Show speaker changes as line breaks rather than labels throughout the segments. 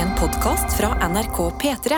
En podkast fra NRK P3.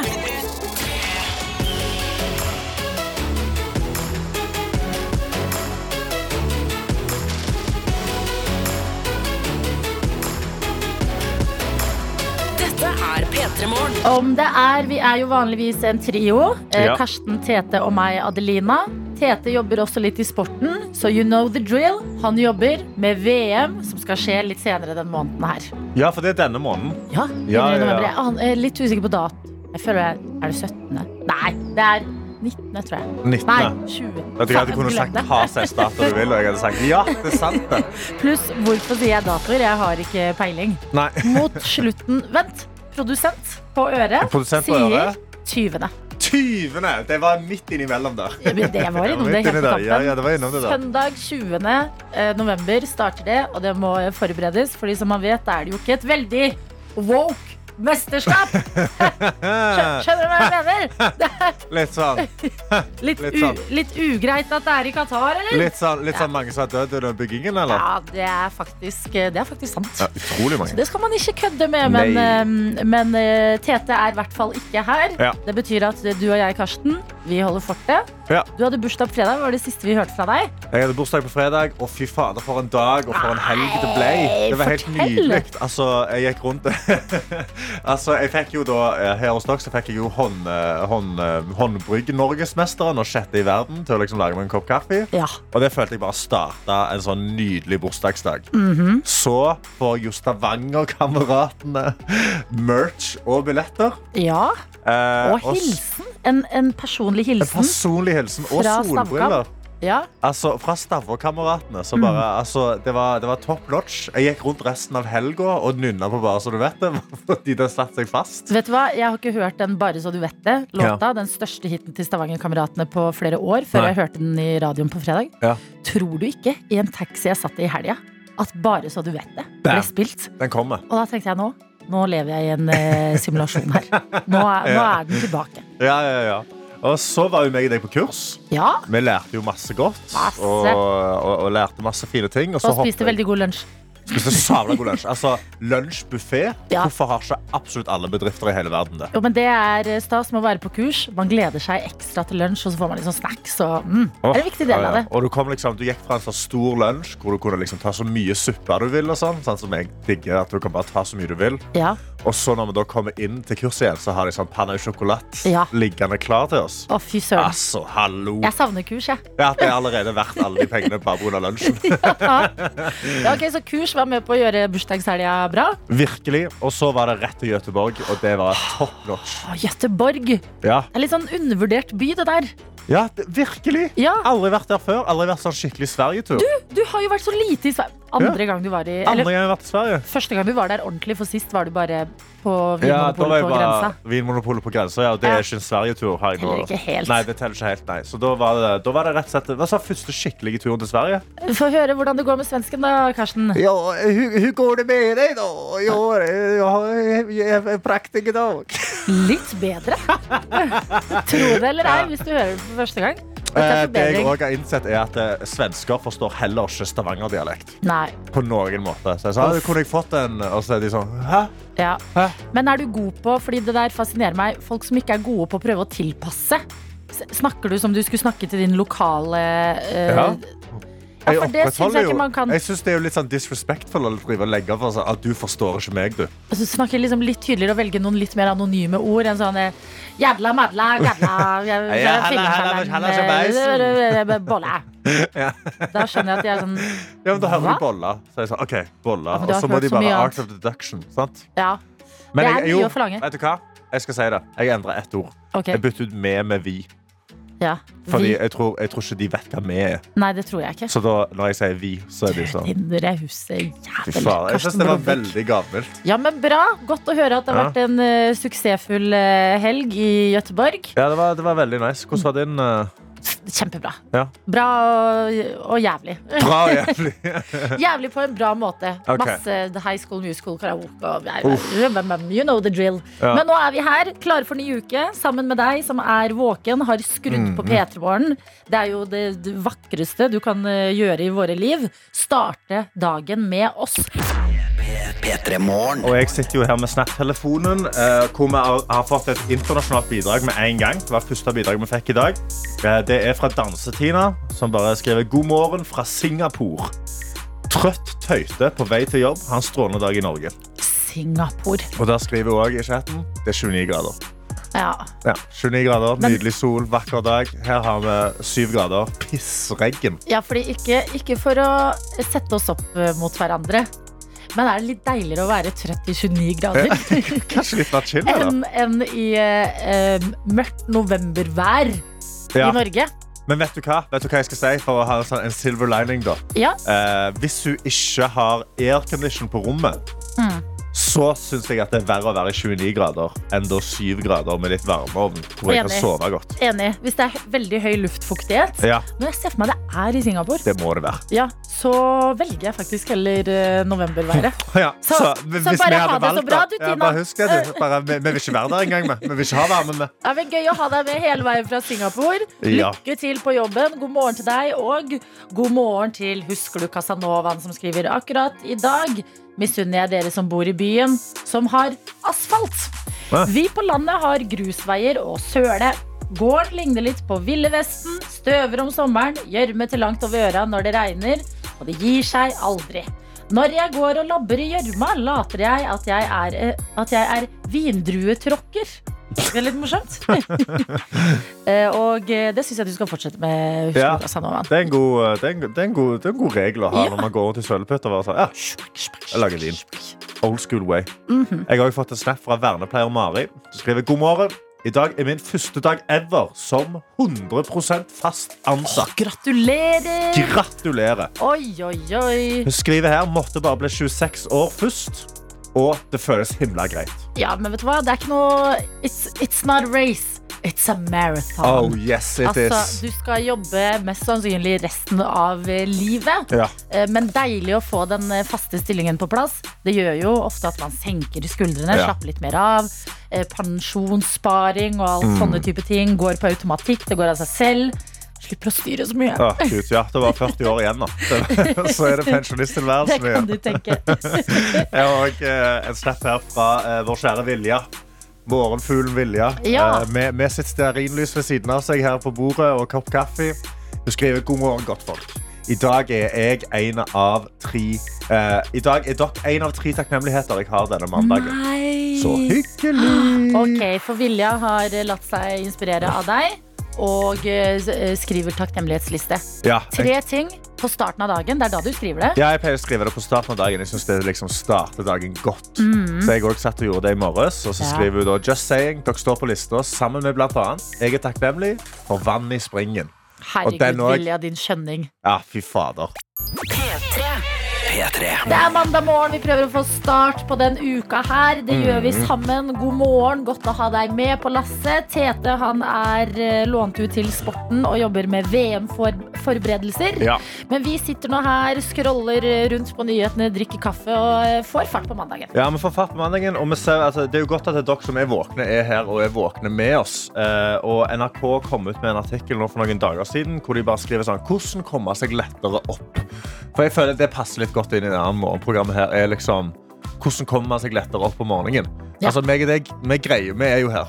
Dette er P3 Morgen.
Om det er, Vi er jo vanligvis en trio. Eh,
Ja.
Karsten, Tete og meg, Adelina. Tete jobber også litt i sporten, så you know the drill. Han jobber med VM, som skal skje litt senere den måneden her.
Ja, for det er denne måneden.
Ja,
Ja,
begynner i
ja, ja.
november. Jeg aner- jeg er litt usikker på dat. Jeg føler jeg, Er det 17.? Nei, det er 19., tror jeg.
19.
Nei, 20.
At jeg hadde kunnet
Glem
sagt
det.
hva slags dato du vil, og jeg hadde sagt ja, det er sant det.
Pluss, hvorfor sier jeg datoer? Jeg har ikke peiling.
Nei.
Mot slutten Vent, produsent på øret
Produsent på
sier
øret.
20.
20. Det var midt innimellom der.
Ja, men det var innom det
Midt inni
helt på
der. Ja,
tampen.
ja, det var innom det der.
Søndag 20. eh, november starter det, og det må forberedes. Fordi som man vet, er det jo ikke et veldig woke mesterskap. Skjø- Skjønner du hva jeg mener? Det er
Litt sånn,
litt,
Litt
u,
sånn.
litt ugreit at det er i Qatar, eller?
litt sånn, litt sånn mange som er døde under byggingen, eller?
Ja, det er faktisk, eh, det er faktisk sant.
Ja,
Så
utrolig mange.
det skal man ikke kødde med, men, eh, men eh, Tete er i hvert fall ikke her.
Ja.
Det betyr at du og jeg, Karsten, vi holder fortet.
Ja.
Du hadde bursdag på fredag, var det siste vi hørte fra deg.
Jeg hadde bursdag på fredag, og fy fader, for en dag og for en helg det ble. Det var helt
Fortell.
nydelig. Altså, jeg gikk rundt Altså, jeg fikk jo da eh, Her hos dere så fikk jeg jo hånd, eh, hånd, eh, håndbrygg-norgesmesteren og sjette i verden til å liksom lage meg en kopp kaffe.
Ja.
Og det følte jeg bare starta en sånn nydelig bursdagsdag.
Mhm.
Så får jo Stavanger-kameratene merch og billetter.
ja.
Eh,
Og
og s-
hilsen. En, en personlig
En
hilsen.
personlig hilsen og
Fra
solbriller.
Stavkamp. Ja.
Altså, fra Stavåkameratene. så bare,
Mm.
altså, det, var- det var top notch. Jeg gikk rundt resten av helga og nynna på bare så du vet det. Fordi det satte seg fast.
Vet du hva, Jeg har ikke hørt den Bare så du vet det, låta. Den største hiten til Stavanger-kameratene på flere år. Før
Nei.
jeg hørte den i radioen på fredag.
Ja.
Tror du ikke, i en taxi jeg satt i i helga, at Bare så du vet det ble
Damn.
spilt?
Den kommer.
Og da tenkte jeg nå nå lever jeg i en eh, simulasjon her. Nå er, nå er den tilbake.
Ja, ja, ja. Og så var jo meg og deg på kurs.
Ja,
Vi lærte jo masse godt.
Masse.
Og, og, og lærte masse fine ting. Og så
og
hoppet
spiste
jeg-
veldig god lunsj.
Spiste sabla god lunsj. Altså, Lunsjbuffé.
Ja.
Hvorfor har ikke absolutt alle bedrifter i hele verden det?
Jo, men Det er eh, stas med å være på kurs. Man gleder seg ekstra til lunsj, og så får man liksom snacks. Og, mm, det er en viktig del
Ja, ja.
av det.
Og du, kom liksom, du gikk fra en sånn stor lunsj hvor du kunne liksom ta så mye suppe du vil, og sånn, sånn som jeg digger, at du kan bare ta så mye du vil.
Ja,
Og så når vi da kommer inn til kurset igjen, så har de sånn panna i sjokolade
Ja.
liggende klar til oss.
Å, fy søren.
Altså, hallo!
Jeg savner kurs, jeg.
Det er at det er allerede verdt alle de pengene bare pga. lunsjen.
Ja, ok, Så kurs var med på å gjøre bursdagshelga bra.
Virkelig. Og så var det rett til Göteborg, og det var top notch.
Å, Gøteborg. Det
Ja.
er litt sånn undervurdert by, det der.
Ja, det, virkelig.
Ja.
Aldri vært der før. Aldri vært sånn skikkelig Sverigetur.
Du har jo vært så lite i Sverige. Andre gang du var i
Andre
Eller
gang jeg har vært i Sverige.
første gang du var der ordentlig, for sist var du bare på
Ja, da var
Vinmonopolet
jeg
på
bare
grensa.
Vinmonopolet på grensa, ja. Og det
Ja.
er ikke en Sverigetur. har jeg nå.
Heller ikke helt.
Nei, det teller ikke helt, nei. Så da var det, da var det rett og slett Det var sånn første skikkelige turen til Sverige.
Få høre hvordan det går med svensken, da, Karsten.
Ja, hvordan går det med deg, da? jeg har praktisk i dag.
Litt bedre. Tro det eller ei, hvis du hører det for første gang. Dette er
Eh, Det jeg
forbedring.
òg har innsett, er at eh, svensker forstår heller ikke stavangerdialekt.
Nei.
På noen måte. Så jeg sa,
Uff.
kunne jeg fått en? Og så er de sånn Hæ?
Ja.
Hæ?
Men er du god på, fordi det der fascinerer meg, folk som ikke er gode på å prøve å tilpasse. S- Snakker du som du skulle snakke til din lokale eh,
Ja.
Ja, for det syns jeg
opprettholder
ikke man kan.
Jeg synes det er jo litt sånn disrespectful å drive og legge for seg at du forstår ikke meg, du.
altså, Snakke liksom litt tydeligere og velge noen litt mer anonyme ord enn sånn eh, Jadla, madla, gadla jeg-
Ja, halla, halla,
fingersalem,
halla, sjabeisen.
eh, Bolle. Da skjønner jeg at jeg er sånn
Ja, men Da hører
Hva?
du bolla. Så jeg sa, ok,
Ja,
bolla.
men du
Og
har
så må
hørt
de
så mye
bare
annet.
Art of Deduction. sant?
Ja,
Men
Det er
jeg-
mye
jo,
å forlange.
Vet du hva? Jeg skal si det. Jeg endrer ett ord.
OK.
Jeg bytter ut med med vi.
Ja.
Fordi
Vi,
jeg tror, jeg tror ikke de vet hva vi er.
nei, det tror jeg ikke.
Så da, når jeg sier vi, så er de sånn
Tindre huset
Fy
jævel.
faen. Jeg
Karsten
synes det var
Blomvik.
veldig gammelt.
Ja, men bra. Godt å høre at det har
Ja.
vært en eh, suksessfull eh, helg i Gøteborg.
Ja, det var, det var veldig nice. Hvordan var din eh,
Kjempebra.
Ja.
Bra og, og jævlig.
Bra og jævlig.
jævlig på en bra måte.
Ok.
Masse High School Musical, karaoke og
Uff.
You know the drill.
Ja.
Men nå er vi her, klare for ny uke, sammen med deg som er våken, har skrudd
Mm,
på P3 Morgen. Det er jo det det vakreste du kan eh, gjøre i våre liv. Starte dagen med oss.
Og jeg sitter jo her med Snap-telefonen, eh, hvor vi har, har fått et internasjonalt bidrag med en gang. Det var første bidrag vi fikk i dag. Eh, det er fra Dansetina, som bare skriver God morgen fra Singapore. Trøtt tøyte på vei til jobb, hans strålende dag i Norge.
Singapore.
Og der skriver hun òg i chatten det er 29 grader.
Ja.
Ja, 29 grader,
Men-
Nydelig sol, vakker dag. Her har vi 7 grader. Pissregn.
Ja, fordi ikke, ikke for å sette oss opp eh, mot hverandre, men er det litt deiligere å være trøtt i 29 grader
Kanskje litt mer chill? eller?
enn enn i eh, eh, mørkt novembervær i
Ja.
Norge?
Men vet du hva Vet du hva jeg skal si for å ha en sånn- en silver lining? da?
Ja.
Eh, hvis hun ikke har aircondition på rommet,
Mm.
så syns jeg at det er verre å være i 29 grader enn da 7 grader med litt varmeovn. Hvor jeg kan
Enig.
sove godt.
Enig. Hvis det er veldig høy luftfuktighet,
Ja,
når jeg ser for meg det er i Singapore,
det må det være.
ja, så velger jeg faktisk heller eh, novemberværet.
Ja,
Så-
hvis
så
vi
bare
hadde
ha det så
valgt,
bra,
da-
du,
Ja,
Tina.
bare husk det, du. Bare, vi, vi vil ikke være der engang. vi. Vi vil ikke ha varmen med.
Det er vel gøy å ha deg med hele veien fra Singapore.
Ja.
Lykke til på jobben. God morgen til deg, og god morgen til Husker du Casanovaen, som skriver akkurat i dag. Misunner jeg dere som bor i byen, som har asfalt.
Hæ?
Vi på landet har grusveier og søle. Gården ligner litt på Ville Vesten. Støver om sommeren, gjørme til langt over øra når det regner. Og det gir seg aldri. Når jeg går og labber i gjørma, later jeg at jeg er, eh, at jeg er vindruetråkker. Det er litt morsomt. Eh, og eh, det syns jeg du skal fortsette med.
Ja.
Husker du Casanovaen.
Det er en god, eh, det er en, det er en god, det er en god regel å ha
Ja.
når man går rundt i sølepytter. og bare sånn, Ja, jeg lager vin. Old school way.
Mhm.
Jeg har også fått en snap fra vernepleier Mari. Som skriver god morgen. I dag er min første dag ever som 100 fast ansatt.
Gratulerer!
Gratulerer.
Oi, oi, oi.
Hun skriver her måtte bare bli 26 år først. Og det føles himla greit.
Ja, men vet du hva? Det er ikke noe It's, it's not a race. It's a marathon.
Oh, yes, it
Altså, du skal jobbe mest sannsynlig resten av eh, livet.
Ja.
Eh, Men deilig å få den eh, faste stillingen på plass. Det gjør jo ofte at man senker skuldrene,
Ja.
slapper litt mer av. Eh, Pensjonssparing og alt
Mm.
sånne type ting går på automatikk. Det går av seg selv. Slipper å styre så mye.
Å, Gud, ja. Det var 40 år igjen, da. Det- Så er det
Det
pensjonisttilværelsen
kan
igjen.
du tenke.
Jeg har òg eh, en snap her fra eh, vår kjære Vilja. Morgenfuglen Vilja.
Ja.
Eh, med, med sitt stearinlys ved siden av seg her på bordet og kopp kaffe. Hun skriver god morgen, godt folk. I dag er jeg en av tre eh, I dag er dere en av tre takknemligheter jeg har denne mandagen. Så hyggelig.
Ok, for Vilja har eh, latt seg inspirere av deg og eh, s- eh, skriver takknemlighetsliste.
Ja, jeg,
Tre ting på starten av dagen. Det er da du skriver det.
ja, jeg pleier å skrive det på starten av dagen. Jeg synes det liksom starter dagen godt. Så jeg også satt og gjorde det i morges. Og så
Ja.
skriver hun da Just saying, dere står på lista sammen med blant annet. Jeg er takknemlig for vann i springen. Og den
Herregud,
også.
Vilja, din skjønning.
Ja, fy fader.
Det er mandag morgen. Vi prøver å få start på den uka her.
Mm.
Det gjør vi sammen. God morgen. Godt å ha deg med på lasset. Tete han er eh, lånt ut til Sporten og jobber med VM-forberedelser.
Ja.
Men vi sitter nå her, scroller rundt på nyhetene, drikker kaffe og eh, får fart på mandagen.
Ja, vi får fatt på mandagen, og vi ser, altså, Det er jo godt at det er dere som er våkne, er her og er våkne med oss. Eh, og NRK kom ut med en artikkel nå for noen dager siden hvor de bare skriver sånn Hvordan komme seg lettere opp? For jeg føler det passer litt godt inn i det her morgenprogrammet her. er liksom hvordan kommer man seg lettere opp om morgenen?
Ja.
Altså, meg og deg, vi greier, vi er jo her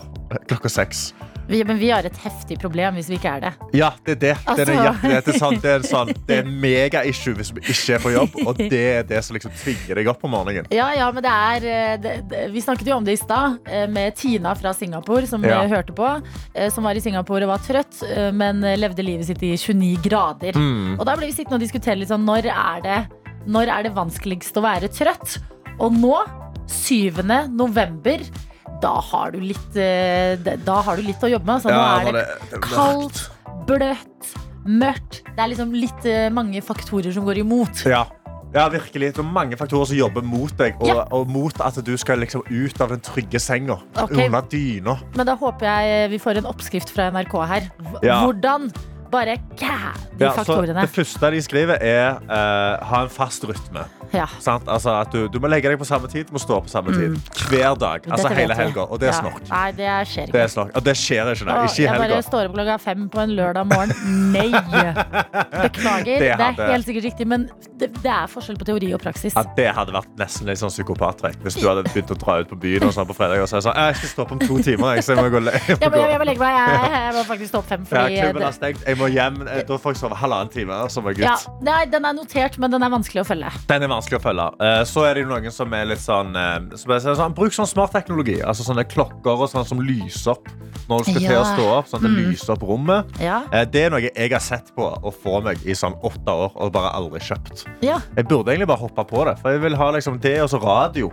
klokka seks.
Vi, men vi har et heftig problem hvis vi ikke er det.
Ja, det er det. Det er,
Altså.
nøyaktig det. det, er sant, det, er sånn, det er mega-issue hvis vi ikke er på jobb, og det er det som liksom tvinger deg opp om morgenen.
Ja, ja, men det er eh, det, det, Vi snakket jo om det i stad, eh, med Tina fra Singapore, som
Ja.
eh, hørte på. eh, Som var i Singapore og var trøtt, eh, men eh, levde livet sitt i 29 grader.
Mm.
Og da ble vi sittende og diskutere litt sånn når er, det, når er det vanskeligst å være trøtt? Og nå, 7. november, da har du litt, eh, det- da har du litt å jobbe med. Altså,
Ja,
nå er
nå
det
er det- det er mørkt.
kaldt, bløtt, mørkt. Det er liksom litt eh, mange faktorer som går imot.
Ja. Ja, virkelig. Det er mange faktorer som jobber mot deg, og,
Ja.
og mot at du skal liksom ut av den trygge senga.
Ok.
Under dyna.
eh, Men da håper jeg vi får en oppskrift fra NRK her. Hv-
Ja.
Hvordan Bare gæ, de
Ja, så
faktorene.
det første de skriver, er eh, ha en fast rytme.
Ja.
Sant? Altså at du, du må legge deg på samme tid, du må stå opp på samme tid. Hver dag. Altså
Mm. Dette
hele
vet vi.
helga. Og det er
Ja.
snork.
Nei, det skjer
Det,
ikke.
er snork. Og det skjer ikke, nei.
Å,
Ikke i
jeg
helga.
bare står opp klokka fem på en lørdag morgen. Nei! Beklager. Det,
Det hadde-
er helt sikkert riktig, men det, det er forskjell på teori og praksis.
Ja, det hadde vært nesten litt sånn psykopattrekk hvis du hadde begynt å dra ut på byen og sånn på fredag og så er det sånn, jeg skal stå opp om to timer. Jeg, så jeg må gå le-
Ja,
jeg må
men
gå.
jeg, jeg må legge meg. Jeg, jeg må faktisk stå opp fem.
Ja,
Fordi
klubben har stengt. Jeg må hjem. Eh, Da får jeg sove halvannen time som er gutt.
ja, nei, den er notert, men den er vanskelig å følge.
Den er vanskelig å følge. Eh, Så er det jo noen som er litt sånn, eh, som er sånn sånn, Bruk sånn smart teknologi. Altså sånne klokker og sånn som lyser opp når du skal til å
Ja. Mm.
stå opp. Sånn at det lyser opp rommet.
Ja.
Eh, Det er noe jeg har sett på å få meg i sånn åtte år og bare aldri kjøpt.
Ja.
Jeg burde egentlig bare hoppe på det, for jeg vil ha liksom det og så radio.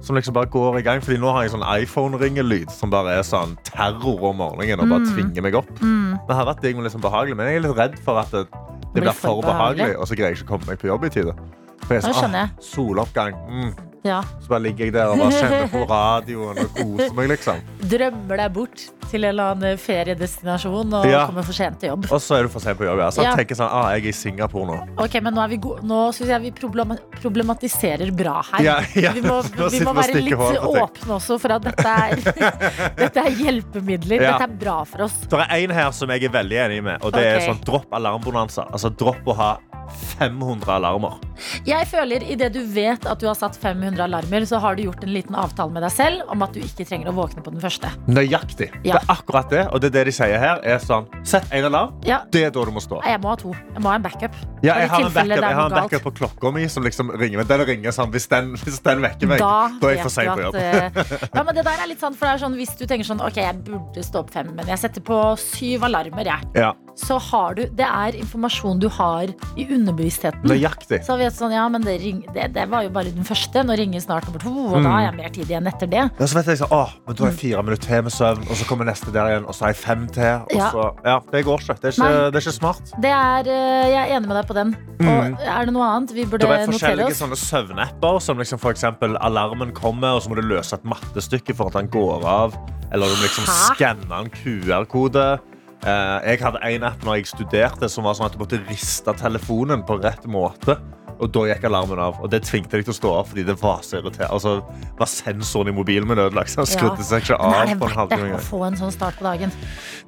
Som liksom bare går i gang, fordi nå har jeg sånn iPhone-ringelyd som bare er sånn terror om morgenen og bare tvinger meg opp. Det har vært digg, men liksom behagelig, men jeg er litt redd for at Mm. det, det blir for behagelig, og så greier jeg ikke å komme meg på jobb i tide. For jeg er
Ja,
sånn,
skjønner
ah, soloppgang. Mm.
ja.
Så bare ligger jeg der og bare kjenner på radioen og koser meg, liksom.
Drømmer deg bort til en eller annen feriedestinasjon og
Ja.
kommer for sent til jobb.
Og så er du for sent på jobb. Ja. Så
Ja.
jeg tenker sånn, ah, jeg er i Singapore nå.
Ok, men Nå, er vi go- nå synes jeg vi problema- problematiserer bra her.
Ja, ja.
Vi må,
Nå
vi
sitter
må
vi og
være
stikker
litt
håret på ting.
åpne også for at dette er, dette er hjelpemidler.
Ja.
Dette er bra for oss.
Det er en her som jeg er veldig enig med, og det er
Ok.
sånn dropp alarmbonanza. Altså dropp å ha 500 alarmer.
Jeg føler Idet du vet at du har satt 500 alarmer, så har du gjort en liten avtale med deg selv om at du ikke trenger å våkne på den første.
Nøyaktig.
Ja.
Det er akkurat det, og det er det de sier her, er sånn Sett en alarm.
Ja,
Det er da du må stå.
Nei, jeg må ha to. Jeg må ha en backup.
Ja,
Og i
jeg har en
tilfelle
backup,
det er
jeg har en
noe galt,
backup på klokka mi som liksom ringer meg. Den ringer sånn hvis den, hvis den vekker meg,
Da,
da er jeg for
vet
sein på
du
jobb.
at, eh, ja, men det der er litt sånn, for det er sånn Hvis du tenker sånn Ok, jeg burde stå opp fem, men jeg setter på syv alarmer, jeg.
Ja,
Så har du Det er informasjon du har i underbevisstheten.
Nøyaktig.
Så vet du sånn, ja, men det, ring, det, det var jo bare den første. Nå ringer snart nummer to, og
Mm.
da har jeg mer tid igjen etter det.
Ja, så vet jeg sånn, åh, men Da har
Mm.
jeg fire minutter til med søvn, og så kommer neste der igjen, og så har jeg fem til. Og
Ja.
så, ja, det går ikke. Det er ikke,
Nei.
det er ikke smart.
Det er, eh, jeg er enig med deg på den. Og er det noe annet vi burde
Mm. Det er
notere
forskjellige
Eh, oss?
sånne søvnapper, som liksom for eksempel alarmen kommer, og så må du løse et mattestykke for at den går av. Eller du må liksom
Hæ?
skanne en QR-kode. Eh, jeg hadde en app når jeg studerte, som var sånn at du måtte riste telefonen på rett måte. Og da gikk alarmen av. Og det tvingte deg til å stå opp fordi det var så irriterende. Altså, var sensoren i mobilen min ødelagt? så Den
Ja.
skrudde seg ikke
Men er
av
det
på en
verdt det
halvtime.
å få en sånn start på dagen?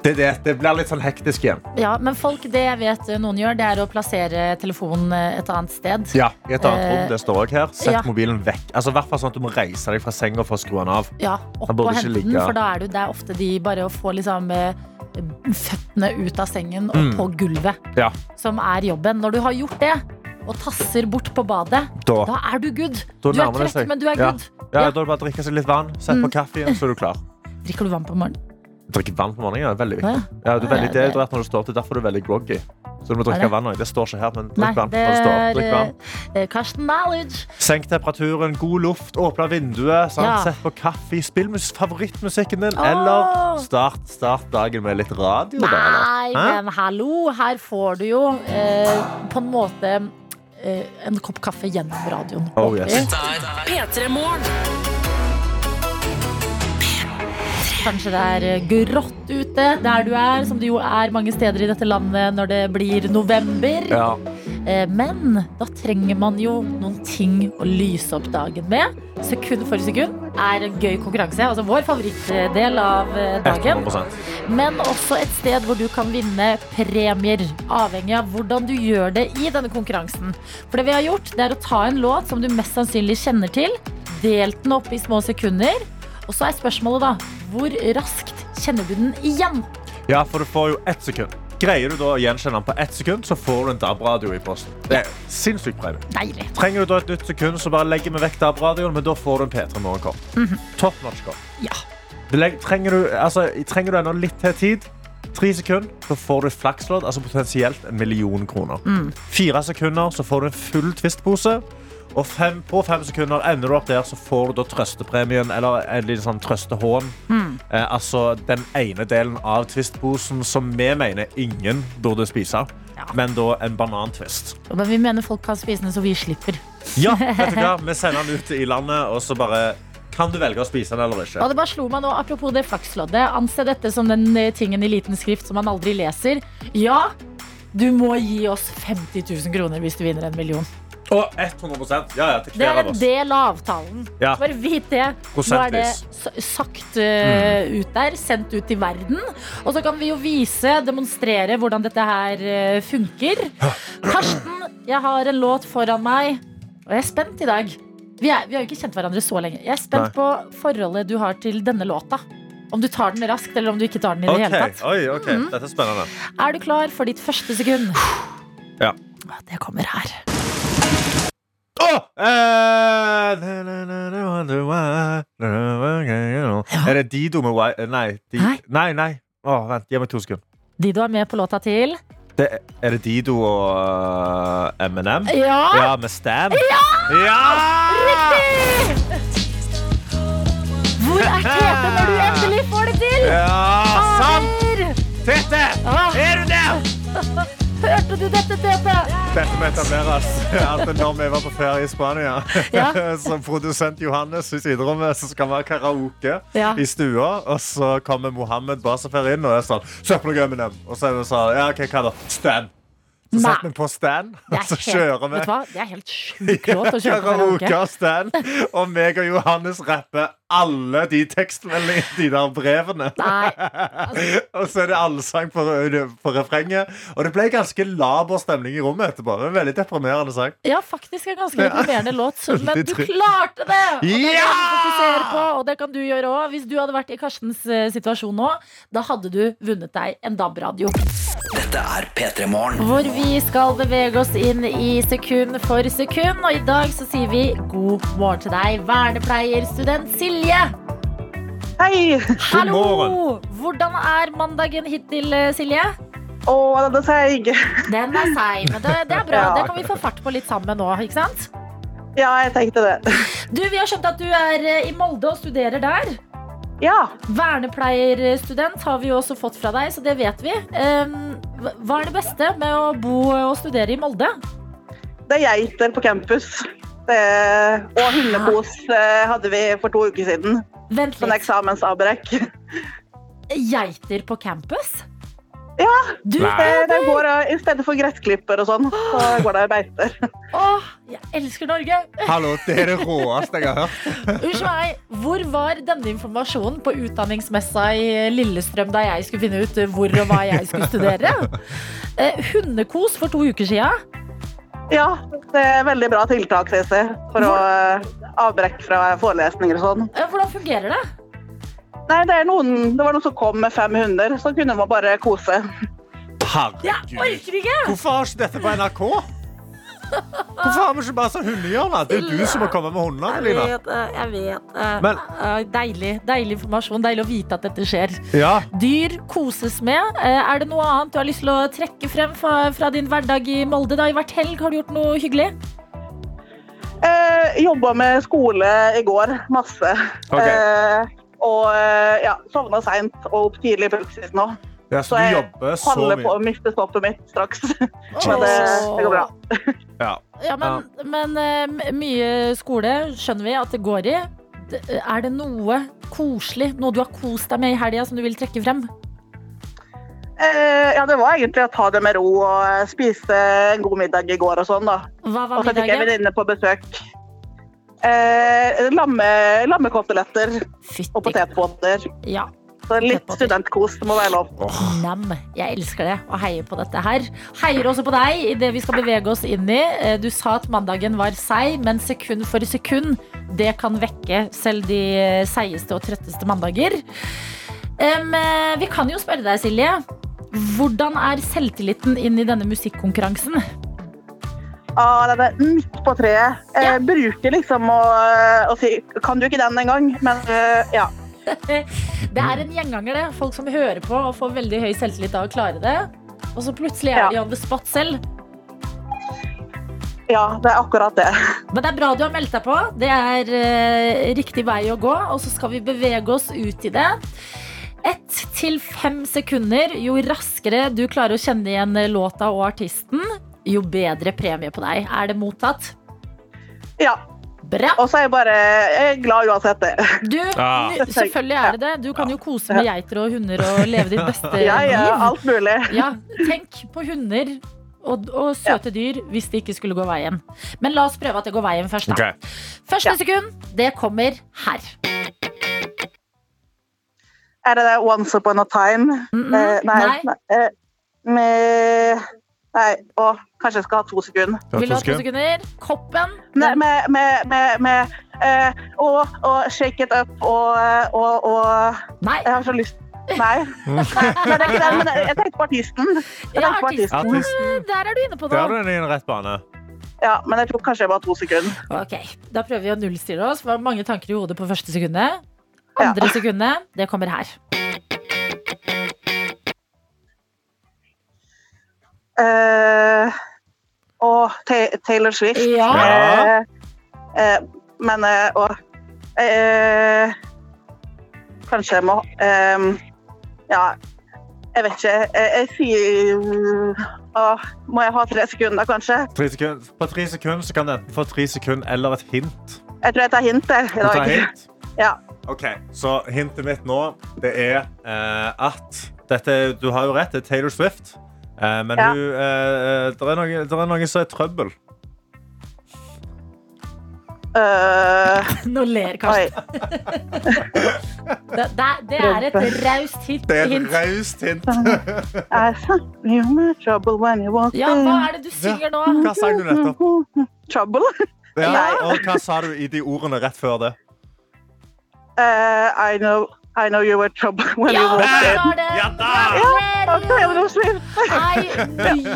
Det, det, det blir litt sånn hektisk igjen.
Ja, men folk, det jeg vet noen gjør, det er å plassere telefonen eh, et annet sted.
Ja, i et annet
Eh,
rom, det står også her. Sett
ja.
mobilen vekk. Altså, i hvert fall sånn at du må reise deg fra senga for å skru den av.
Ja, opp
Han burde
og
ikke
hente
ligge.
den, for da er du der ofte de bare å få liksom eh, føttene ut av sengen og
Mm.
på gulvet,
Ja,
som er jobben. Når du har gjort det, og tasser bort på badet,
da.
da er du good. Du
Da
er
nærmer det
trett,
seg.
men du er
Ja.
good.
Ja,
Ja. Mm.
Da er det bare å drikke seg litt vann, sett på kaffen, så er du klar.
Drikker du vann på morgenen?
Drikke vann på morgenen er veldig
Ja.
viktig. Ja, du er veldig
Ja, det-
dehydrert når du står opp. Det er derfor du er veldig groggy. Så du må
Er det?
drikke vann også. Det står ikke her, men
Nei,
drikk vann
det
når du står opp.
er
Drikk vann.
eh, Karsten Knowledge.
Senk temperaturen, god luft, åpne vinduet, sant?
Ja.
sett på kaffe, spill mus favorittmusikken din,
Åh!
eller start, start dagen med litt radio. da, eller?
Nei,
Hæ?
men hallo, her får du jo eh, på en måte eh, en kopp kaffe gjennom radioen.
Oh, yes.
P3 Morgen.
Kanskje det er eh, grått ute der du er, som det jo er mange steder i dette landet når det blir november.
Ja.
Eh, men da trenger man jo noen ting å lyse opp dagen med. Sekund for sekund er en gøy konkurranse. Altså vår favorittdel av eh, dagen.
100
Men også et sted hvor du kan vinne premier, avhengig av hvordan du gjør det i denne konkurransen. For det vi har gjort, det er å ta en låt som du mest sannsynlig kjenner til, delt den opp i små sekunder, og så er spørsmålet da, hvor raskt kjenner du den igjen?
Ja, for du får jo ett sekund. Greier du da å gjenkjenne den på ett sekund, så får du en DAB-radio i posten. Det er sinnssykt premie.
Deilig.
Trenger du da et nytt sekund, så bare legger vi vekk DAB-radioen, men da får du en P3 Morgenkopp. Top notch-kopp.
Ja.
Du legger- Trenger, du- altså, trenger du ennå litt til tid, tre sekunder, så får du et flakslodd, altså potensielt en million kroner. Fire sekunder, så får du en full twistpose. Og fem, på fem sekunder ender du opp der, så får du da trøstepremien, eller en liten sånn trøstehån. Eh, altså den ene delen av twistposen som vi mener ingen burde spise,
Ja.
men da en banantvist.
Men vi mener folk kan spise den, så vi slipper.
Ja, vet du hva? Vi sender den ut i landet, og så bare Kan du velge å spise den eller ikke?
Og det bare slo meg nå, Apropos det flaksloddet. Anse dette som den eh, tingen i liten skrift som man aldri leser. Ja, du må gi oss 50 000 kroner hvis du vinner en million.
Og 100 Ja, ja, til
Det
hver
er
av
en
oss.
del av avtalen.
Ja.
Bare vit det. Nå er det
Prosentvis.
s- sagt eh, ut der, sendt ut i verden. Og så kan vi jo vise, demonstrere hvordan dette her eh, funker. Karsten, jeg har en låt foran meg, og jeg er spent i dag. Vi, er, vi har jo ikke kjent hverandre så lenge. Jeg er spent
Nei.
på forholdet du har til denne låta. Om du tar den raskt, eller om du ikke tar den i det
Ok,
hele tatt. Mhm.
Oi, ok, Dette er spennende.
Er du klar for ditt første sekund?
Ja.
Det kommer her.
Åh! Eh, na, na, na, na, wonder why, na, na, why, you know. Er det Dido med why? eh, Nei. Di-
Nei.
Nei, nei. Åh, vent, gi meg to sekunder.
De du har med på låta til?
Det, er- er det Dido og eh, M&M?
Ja!
Ja, med Stan? Ja! ja!
Hvor er Tete når du endelig får det til?
sant!
Her!
Tete!
Ah.
Er du der?
Hørte du dette, Tete?
Dette må etableres. At når vi var på ferie i Spania,
Ja.
som produsent Johannes i siderommet, så skal vi ha karaoke
Ja.
i stua. Og så kommer Mohammed Basafer inn og er sånn Søppel og Eminem. Og så er vi sånn Ja, OK, hva da? Stan. Så
Nei.
setter vi på Stan,
Det
og
er
så
helt-
kjører vi.
Vet du hva? Det er helt sjuk låt å kjøre på
Karaoke
karaoke.
og Stan. Og meg og Johannes rapper alle de tekstmeldingene, de der brevene.
Nei.
Og så er det allsang på, på refrenget. Og det ble ganske laber stemning i rommet etterpå. Det var En veldig deprimerende sang.
Ja, faktisk en ganske deprimerende låt, men du
Veldig trist.
klarte det! Og det kan
Ja!
vi fokusere på, og det kan du gjøre òg. Hvis du hadde vært i Karstens eh, situasjon nå, da hadde du vunnet deg en DAB-radio.
Dette er P3 Morgen.
Hvor vi skal bevege oss inn i sekund for sekund. Og i dag så sier vi god morgen til deg, vernepleierstudent Silje.
Hei!
Hallo!
morgen.
Hvordan er mandagen hittil, eh, Silje?
Å, den er seig.
Den er seig, men det, det er bra.
Ja.
Det kan vi få fart på litt sammen nå. ikke sant?
Ja, jeg tenkte det.
Du, Vi har skjønt at du er eh, i Molde og studerer der.
Ja.
Vernepleierstudent har vi jo også fått fra deg, så det vet vi. Ehm, hva- Hva er det beste med å bo og studere i Molde?
Det er geiter på campus. Det, og hundekos eh, hadde vi for to uker siden.
Vent
Sånn
litt.
eksamensavbrekk.
Geiter på campus?
Ja.
Du,
Eh, Det går, eh, I stedet for gressklipper og sånn, så går det beiter.
Åh, jeg elsker Norge!
Hallo, det er det råeste jeg har hørt.
Unnskyld meg, hvor var denne informasjonen på utdanningsmessa i Lillestrøm da jeg skulle finne ut hvor og hva jeg skulle studere? Eh, hundekos for to uker sia.
Ja, det er veldig bra tiltak, Sisi, for å eh, avbrekk fra forelesninger og sånn.
Eh, hvordan fungerer det?
Nei, det, er noen, det var noen som kom med fem hunder, så kunne man bare kose.
Jeg
Herregud.
orker ikke!
Hvorfor har ikke dette på NRK? Hvorfor har vi ikke bare sånn hundehjørne? Det er jo du som må komme med hundene, Lina.
jeg vet. eh,
Men-
deilig, deilig informasjon. Deilig å vite at dette skjer.
Ja.
Dyr koses med. Eh, er det noe annet du har lyst til å trekke frem fra, fra din hverdag i Molde? da? I hvert helg har du gjort noe hyggelig?
Eh, Jobba med skole i går, masse.
Ok.
Eh, og eh, ja, sovna seint og opp tidlig i praksis nå.
ja, så du jobber så
holder på
mye.
å miste stoppet mitt straks.
Jesus.
Men det, det går bra.
Ja.
Ja, men, men eh, m- mye skole skjønner vi at det går i. D- eh, Er det noe koselig, noe du har kost deg med i helga som du vil trekke frem?
Eh, ja, det var egentlig å ta det med ro og eh, spise en god middag i går og sånn, da.
Hva var
Og så fikk jeg
middagen?
venninne på besøk. Eh, lamme, lammekoteletter og
Fytti
potetbåter.
ja.
Så litt
Potetbåter.
studentkos det må være lov.
Nam. Jeg elsker det og heier på dette her. Heier også på deg i det vi skal bevege oss inn i. Eh, Du sa at mandagen var seig, men sekund for sekund, det kan vekke selv de eh, seigeste og trøtteste mandager. Em, eh, vi kan jo spørre deg, Silje. Hvordan er selvtilliten inn i denne musikkonkurransen?
Ah, den er midt på treet. Eh, Bruker liksom å, å si Kan du ikke den engang? Men eh, ja.
Det
Mm.
er en gjenganger, det. Folk som hører på og får veldig høy selvtillit av å klare det. Og så plutselig er
Ja.
de on the spot selv.
ja. Det er akkurat det.
Men det er bra du har meldt deg på. Det er eh, riktig vei å gå, og så skal vi bevege oss ut i det. Ett til fem sekunder. Jo raskere du klarer å kjenne igjen eh, låta og artisten, jo bedre premie på deg. Er det mottatt?
Ja.
Bra.
Og så er jeg bare jeg er glad uansett det.
Du,
Ah.
nu- selvfølgelig er det det. Du kan jo kose med geiter og hunder og leve ditt beste liv.
Ja, ja, alt mulig.
Ja, tenk på hunder og, og søte dyr hvis det ikke skulle gå veien. Men la oss prøve at det går veien først. Da.
Ok.
Første
Ja.
sekund, det kommer her.
Er det det Once Upon a Time?
Mm,
Eh,
mm,
nei. nei. eh, med Nei, å, kanskje jeg skal ha to sekunder.
Vil du ha to sekunder? Koppen.
Nei, med, med, med, med eh, og, og Shake It Up og, og, og
Nei.
Jeg har så lyst Nei. Nei, nei, det er ikke den, men jeg tenkte på artisten. Jeg
Ja,
tenkte på
artisten.
artisten.
Artisten.
Der er du inne på
Der
noe.
er du inne i en rett bane.
Ja, men jeg tror kanskje jeg bare har to sekunder.
Ok, Da prøver vi å nullstille oss. Det var mange tanker i hodet på første sekundet. Andre sekundet, det kommer her.
Eh, og Ta- Taylor Swift.
Ja.
Ja.
Eh, eh, men eh, og eh, Kanskje jeg må eh, Ja, jeg vet ikke. Jeg, jeg sier Åh, Må jeg ha tre sekunder, kanskje?
Tre sekunder. På tre sekunder så kan du enten få tre sekunder eller et hint.
Jeg tror jeg tar hint der. i
Du tar
dag.
hint.
Ja.
Ok, Så hintet mitt nå det er eh, at dette, er- Du har jo rett, det er Taylor Swift. Eh, men
Ja.
hun, eh, der, er noe, der er noe som er trøbbel.
Eh,
Nå ler
oi.
Karsten. Det, det, det er et raust hit. hint.
raust hint.
I thought you were trouble when you walked
Ja,
in.
hva er det du synger nå?
Hva sang du nettopp?
Trouble?
Ja,
Ja.
og hva sa du i de ordene rett før det?
Eh, I know I know you were trouble when
Ja,
you walked
det
in.
var det!
Ja da!
Og Taylor
Gratulerer!
Swift.
I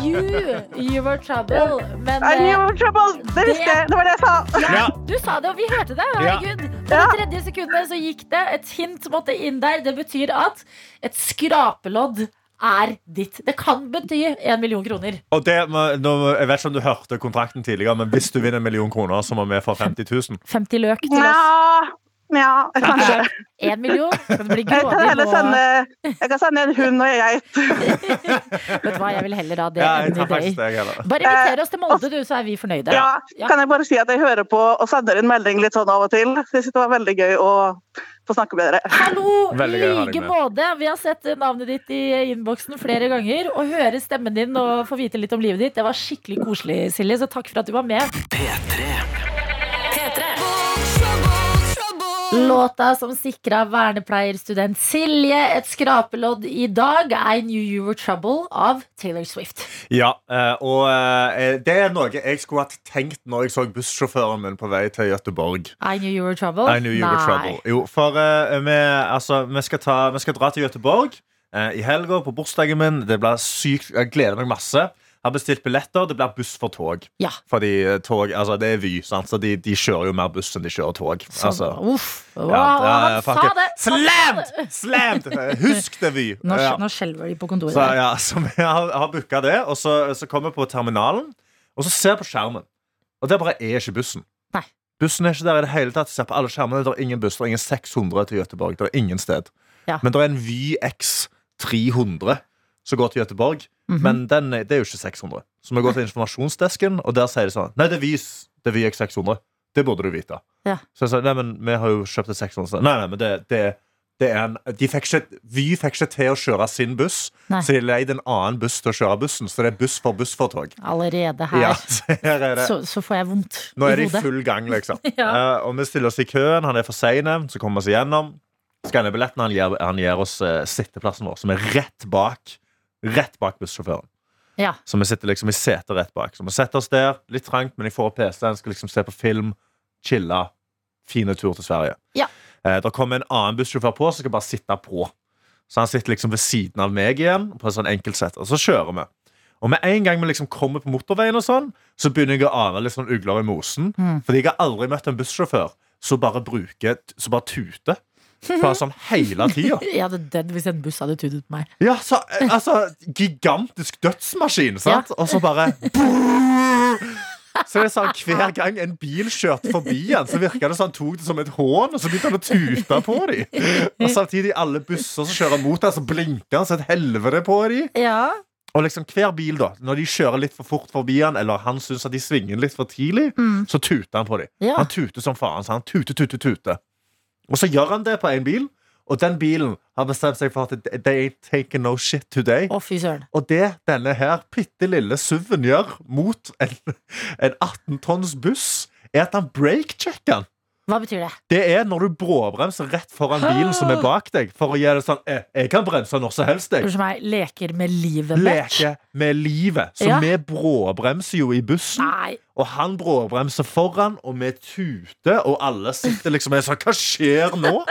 knew you were trouble. Men
I knew you
eh,
were trouble. Det visste jeg. Det var det jeg sa.
Ja.
du sa det, og vi hørte det. Herregud. På
Ja.
det tredje sekundet så gikk det. Et hint måtte inn der. Det betyr at et skrapelodd er ditt. Det kan bety én million kroner.
Og det, må- nå, må- jeg vet ikke om du hørte kontrakten tidligere, men hvis du vinner en million kroner, så må vi få 50 000.
50 løk til oss.
Ja, ja kanskje.
Én million. Skal det bli
Jeg kan
grådig
heller
nå?
sende Jeg kan sende en hund og en geit.
Vet du hva, jeg vil heller ha det
Ja, jeg
enn
tar
i
faktisk
dag.
deg heller.
Bare
Eh,
inviter oss til Molde, du, så er vi fornøyde.
Ja.
Ja.
Kan jeg bare si at jeg hører på og sender en melding litt sånn av og til? Jeg synes det var veldig gøy å få snakke med dere.
Hallo! I
Veldig gøy å ha deg
like
med.
måte. Vi har sett navnet ditt i innboksen flere ganger. Å høre stemmen din og få vite litt om livet ditt, det var skikkelig koselig, Silje. Så takk for at du var med.
P3.
Låta som sikra vernepleierstudent Silje et skrapelodd i dag, I Knew You Were Trouble av Taylor Swift.
Ja, eh, og eh, det er noe jeg skulle hatt tenkt når jeg så bussjåføren min på vei til Gøteborg.
I Knew You Were Trouble?
I knew you were trouble. Jo, for eh, vi, altså, vi, skal ta, vi skal dra til Gøteborg eh, i helga på bursdagen min. Det blir sykt. Jeg gleder meg masse. Har bestilt billetter. Det blir buss for tog.
Ja.
Fordi eh, tog, altså, det er Vy, sant? så de, de kjører jo mer buss enn de kjører tog.
Så,
Altså.
Sånn. uff. Wow,
Ja, det
han
er
sa
faktisk-
det! Han sa det.
Slammed! Slammed! Husk det, Vy.
Nå,
Ja.
nå skjelver de på kontoret.
Så, ja, så vi har, har booka det, og så, så kommer vi på terminalen, og så ser jeg på skjermen. Og der bare er ikke bussen.
Nei.
Bussen er ikke der i det hele tatt. Jeg Ser på alle skjermene, Det er ingen buss, det er ingen 600 til Gøteborg. Det er ingen sted.
Ja.
Men det er en Vy X 300 som går til Gøteborg,
Mhm.
men den, er- det er jo ikke 600. Så vi går til informasjonsdesken, og der sier de sånn Nei, det er Vy, det er Vy X 600. Det burde du vite.
Ja.
Så jeg sa nei, men vi har jo kjøpt et 600 sted. Nei, nei, men det, det, det er en de fikk ikke, Vy fikk ikke til å kjøre sin buss.
Nei.
Så de leide en annen buss til å kjøre bussen, så det er buss for buss for tog.
Allerede her
Ja, så her er det.
så, så får jeg vondt
Nå er de
i
i
hodet.
full gang, liksom.
Ja.
Eh, og vi stiller oss i køen, han er for seine, så kommer vi oss igjennom. Skanner billetten, han gir, han gir oss eh, sitteplassen vår, som er rett bak, rett bak bussjåføren.
Ja.
Så vi sitter liksom i setet rett bak. Så vi setter oss der, litt trangt, men jeg får PC-en, skal liksom se på film, chille, fine tur til Sverige.
Ja.
Eh, der kommer en annen bussjåfør på, som skal bare sitte på. Så han sitter liksom ved siden av meg igjen, på en sånn enkeltsett, og så kjører vi. Og med en gang vi liksom kommer på motorveien, og sånn, så begynner jeg å ane litt sånn ugler i mosen. Fordi jeg har aldri møtt en bussjåfør som bare bruker, som bare tuter. Bare sånn hele tida.
Jeg hadde dødd hvis en buss hadde tudet på meg.
Ja, så, eh, altså, gigantisk dødsmaskin, sant? Og så bare Så det er sånn Hver gang en bil kjørte forbi han, så virka det som han tok det som et hån, og så begynte han å tute på dem. Og samtidig, alle busser som kjører mot han, så blinker han som et helvete på dem.
Ja,
Og liksom hver bil, da, når de kjører litt for fort forbi han, eller han syns at de svinger litt for tidlig,
Mm.
så tuter han på dem.
Ja.
Han tuter som faen. Så han tuter, tuter, tuter. Og så gjør han det på én bil, og den bilen har bestemt seg for at they ain't taking no shit today.
Å, fy søren.
Og det denne her bitte lille SUV-en gjør mot en, en 18 tonns buss, er at han breakchecker den.
Hva betyr det?
Det er når du bråbremser rett foran bilen som er bak deg, for å gjøre det sånn eh, Jeg kan bremse når som helst, jeg.
Unnskyld meg, leker med livet match?
Leke med livet. Så
Ja. Ah.
vi bråbremser jo i bussen,
Nei.
og han bråbremser foran, og vi tuter, og alle sitter liksom og er sånn Hva skjer nå?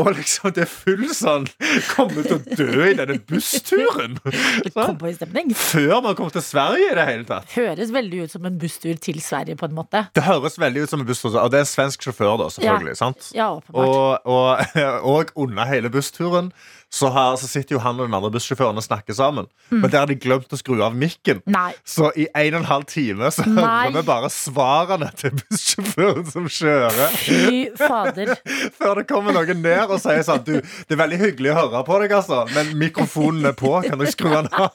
Og liksom, det er full sånn Kommer til å dø i denne bussturen! Sånn.
Cowboystemning.
Før man kommer til Sverige i det hele tatt.
Høres veldig ut som en busstur til Sverige, på en måte.
Det høres veldig ut som en busstur, og det er en svensk sjåfør, da, selvfølgelig. sant?
Ja, åpenbart.
Og, og, og under hele bussturen så, har, så sitter jo han og den andre bussjåføren og snakker sammen.
Mm.
Men der har de glemt å skru av mikken.
Nei.
Så i en og en halv time så
Nei.
hører vi bare svarene til bussjåføren som kjører.
Fy fader.
Før det kommer noen ned og sier sånn Du, det er veldig hyggelig å høre på deg, altså, men mikrofonen er på. Kan dere skru den av?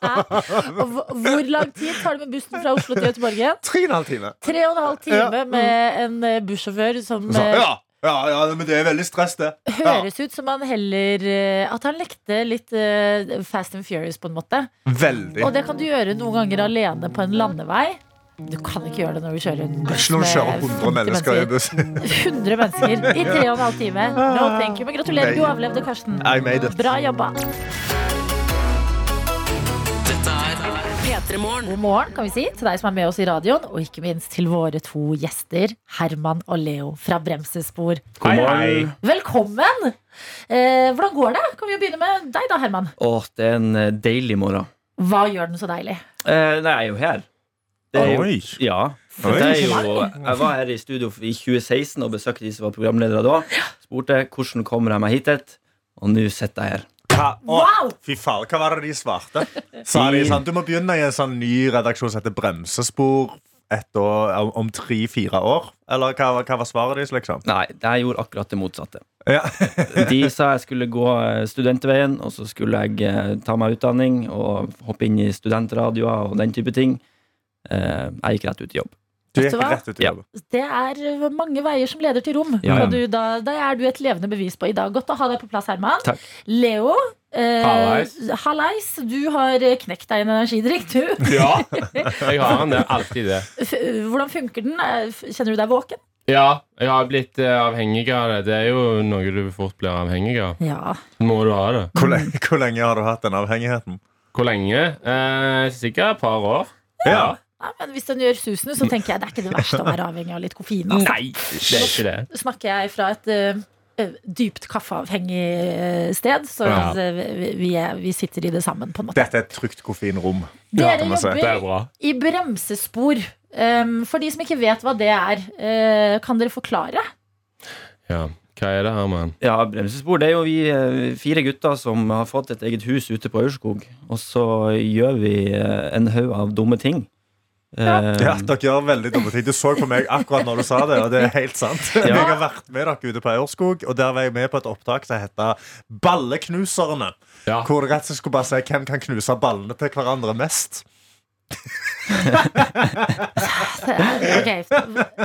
Og hv- hvor lang tid tar det med bussen fra Oslo til Göteborg igjen?
Tre og en halv time.
Tre og en halv time
Ja.
med en eh, bussjåfør som
Så,
eh,
ja, ja, ja, men det er veldig stress, det. Ja.
høres ut som han heller eh, At han lekte litt eh, Fast and Furious, på en måte.
Veldig.
Og det kan du gjøre noen ganger alene på en landevei. Du kan ikke gjøre det når du kjører en buss
Når du
med
kjører 100
50
mennesker i buss.
100 mennesker i tre og en halv time. No thank you, men gratulerer.
Nei.
Du overlevde, Karsten.
I made it.
Bra jobba.
Dette er P3 Morgen.
God morgen kan vi si til deg som er med oss i radioen, og ikke minst til våre to gjester, Herman og Leo fra Bremsespor.
God morgen.
Velkommen! Eh, hvordan går det? Kan vi jo begynne med deg, da, Herman.
Åh, det er en eh, deilig morgen.
Hva gjør den så deilig?
Eh, nei, jeg er jo her. Det er jo,
Oi.
ja.
Oi.
For det er jo, jeg var her i studio i 2016 og besøkte de som var programledere da. Spurte hvordan kommer jeg meg hit, dit? og nå sitter jeg her.
Hva? Å,
Wow!
Fy faen, hva var det de svarte? Sa de sånn, Du må begynne i en sånn ny redaksjon som heter Bremsespor et år, om- om tre-fire år? Eller hva, var- hva var svaret deres, liksom?
Nei, jeg gjorde akkurat det motsatte.
Ja.
De sa jeg skulle gå eh, studentveien, og så skulle jeg eh, ta meg utdanning og hoppe inn i studentradioer og den type ting. Eh, jeg gikk rett ut i jobb.
Du
Vet
gikk
du hva?
rett ut i
Ja.
jobb.
Det er eh, mange veier som leder til rom.
Ja, ja.
Og du, da, da er du et levende bevis på i dag. Godt å ha deg på plass, Herman.
Takk.
Leo. eh,
Hallais.
hallais. Du har eh, knekt deg i en energidrikk, du.
Ja, jeg har han. Det er alltid det.
F hvordan funker den? Eh, f- Kjenner du deg våken?
Ja, jeg har blitt eh, avhengig av det. Det er jo noe du fort blir avhengig av.
Ja.
Må du ha det.
Hvor lenge, hvor lenge har du hatt den avhengigheten?
Hvor lenge? Eh, sikkert et par år.
Ja.
Nei, men hvis den gjør susen, så tenker jeg det er ikke det verste å være avhengig av litt koffein. Altså.
Nei, det er ikke det.
Nå snakker jeg fra et eh, eh, dypt kaffeavhengig eh, sted, så
Ja.
at, eh, vi, vi, er, vi sitter i det sammen, på en måte.
Dette er et trygt koffeinrom.
Dere
kan man si.
Det er
jobber
bra.
i bremsespor. Em, for de som ikke vet hva det er, eh, kan dere forklare?
Ja. Hva er det her, mann?
Ja, Bremsespor det er jo vi eh, fire gutter som har fått et eget hus ute på Aurskog. Og så gjør vi eh, en haug av dumme ting. Eh,
Ja, Dere gjør veldig dumme ting. Du så på meg akkurat når du sa det, og det er helt sant. Jeg har vært med dere ute på Aurskog, og der var jeg med på et opptak som heter Balleknuserne.
Ja.
Hvor det rett og slett skulle bare si hvem kan knuse ballene til hverandre mest.
Det er- ok,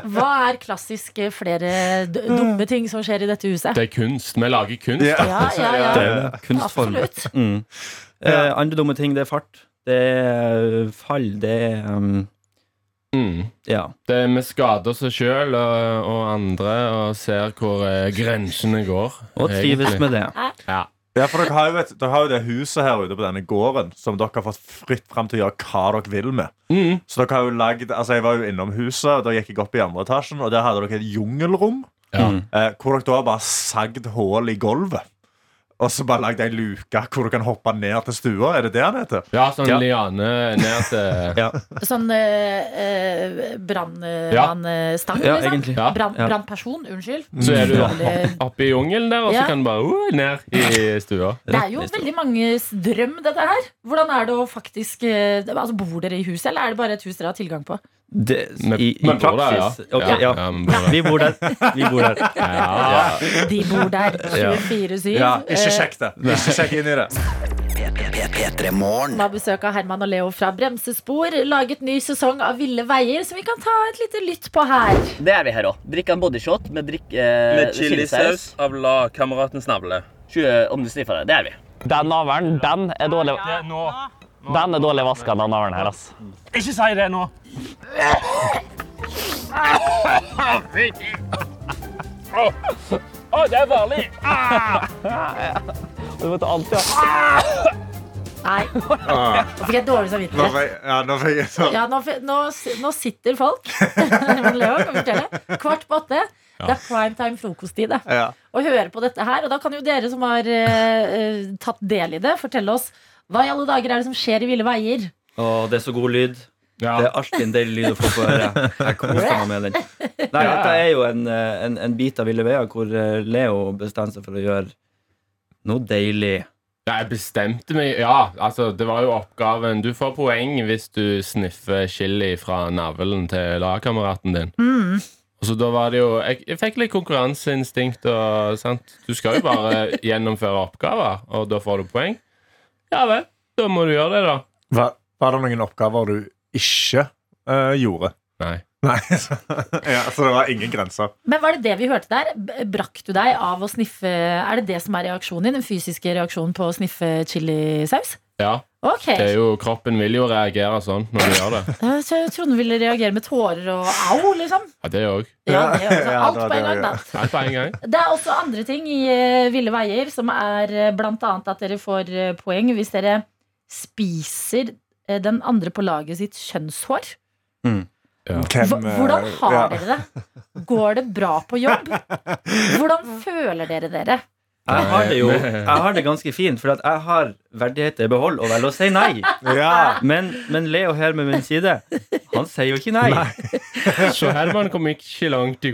Hva er klassisk eh, flere d- dumme ting som skjer i dette huset?
Det er kunst. Vi lager kunst.
Ja.
da.
Ja, ja, ja.
Det er jo det. Kunstform.
Absolutt.
Mm. Eh, andre dumme ting, det er fart. Det er fall. Det er um,
Mm.
Ja.
Det er Vi skader oss sjøl og, og andre og ser hvor eh, grensene går.
Og trives
egentlig.
med det.
Ja.
Ja, for dere har, jo et, dere har jo det huset her ute på denne gården som dere har fått fritt fram til å gjøre hva dere vil med.
Mm.
Så dere har jo lagd, altså Jeg var jo innom huset, og da gikk jeg opp i andre etasjen, og der hadde dere et jungelrom.
Ja.
Mm.
Eh, hvor dere da bare sagd hull i gulvet. Og så bare lagd ei luke hvor du kan hoppe ned til stua. Er det det han heter?
ja, sånn
Ja.
liane ned til
Sånn eh, eh, brannmannstang,
Ja,
liksom?
egentlig.
Ja.
Brann-
Ja.
Brannperson, unnskyld.
Så er du
Ja.
opp- oppe i jungelen der, og
Ja.
så kan du bare uh, ned i stua.
Det er jo veldig manges drøm, dette her. Hvordan er det å faktisk eh, altså, Bor dere i huset, eller er det bare et hus dere har tilgang på?
det,
Men-
I, i
men bor der, ja.
praksis. Ok,
Ja,
ja.
ja, men bor der.
Vi bor der. Vi bor der.
Ja.
De bor der 24-7.
Ja, ikke
Eh,
sjekk det. Ikke sjekk inn i det.
P3. P3 Morgen.
som har besøk av Herman og Leo fra Bremsespor, laget ny sesong av Ville veier, som vi kan ta et lite lytt på her.
Det er vi her òg. Drikk en bodyshot med drikk... Eh,
Med chilisaus av lagkameratens navle.
Tjue- Om du sniffer det. Det er vi.
Den navlen, den er dårlig
Nå.
Den er dårlig vaska, den navlen her, ass.
Ikke si det nå.
det er farlig!
Du vet alltid
Nei, nå fikk jeg dårlig
Nå
samvittighet.
fikk jeg- ja, nå fikk jeg sånn
Ja, nå, fi- nå, s- nå sitter folk Herman og Leo, kan vi fortelle. Kvart på åtte. Det er primetime frokosttid. det.
ja.
Og høre på dette her. Og da kan jo dere som har eh, eh, tatt del i det, fortelle oss hva i alle dager er det som skjer i Ville veier?
Å, det er så god lyd. Det
Ja.
er alltid en deilig lyd å få på øret. Jeg koser meg med den. Nei, dette er jo en, eh, en, en bit av Ville Veier hvor eh, Leo bestemmer seg for å gjøre noe deilig.
Jeg bestemte meg Ja, altså, det var jo oppgaven. Du får poeng hvis du sniffer chili fra navlen til lagkameraten din. Og så da var det jo Jeg, jeg fikk litt konkurranseinstinkt og sant. Du skal jo bare gjennomføre oppgaver, og da får du poeng. Ja vel. Da må du gjøre det, da.
var, var det noen oppgaver du ikke eh, gjorde?
Nei.
Nei, så, ja, så det var ingen grenser.
Men var det det vi hørte der? B- Brakk du deg av å sniffe Er det det som er reaksjonen din? Den fysiske reaksjonen på å sniffe chilisaus?
Ja,
Ok.
det er jo, kroppen vil jo reagere sånn når du gjør det.
Jeg så jeg trodde du ville reagere med tårer og au, liksom.
Ja, det òg.
Ja, det er også
Ja,
alt
det var
på en gang,
det jeg
da.
Alt på en gang.
Det er også andre ting i eh, Ville veier, som er eh, blant annet at dere får eh, poeng hvis dere spiser eh, den andre på laget sitt kjønnshår. Hva-
Hvem, eh,
Hvordan
ja.
har dere det? Går det bra på jobb? Hvordan føler dere dere?
Jeg har det jo jeg har det ganske fint, for at jeg har verdighet i behold og velger å si nei.
Ja.
Men, men Leo her med min side, han sier jo ikke nei.
Så Herman kom ikke langt i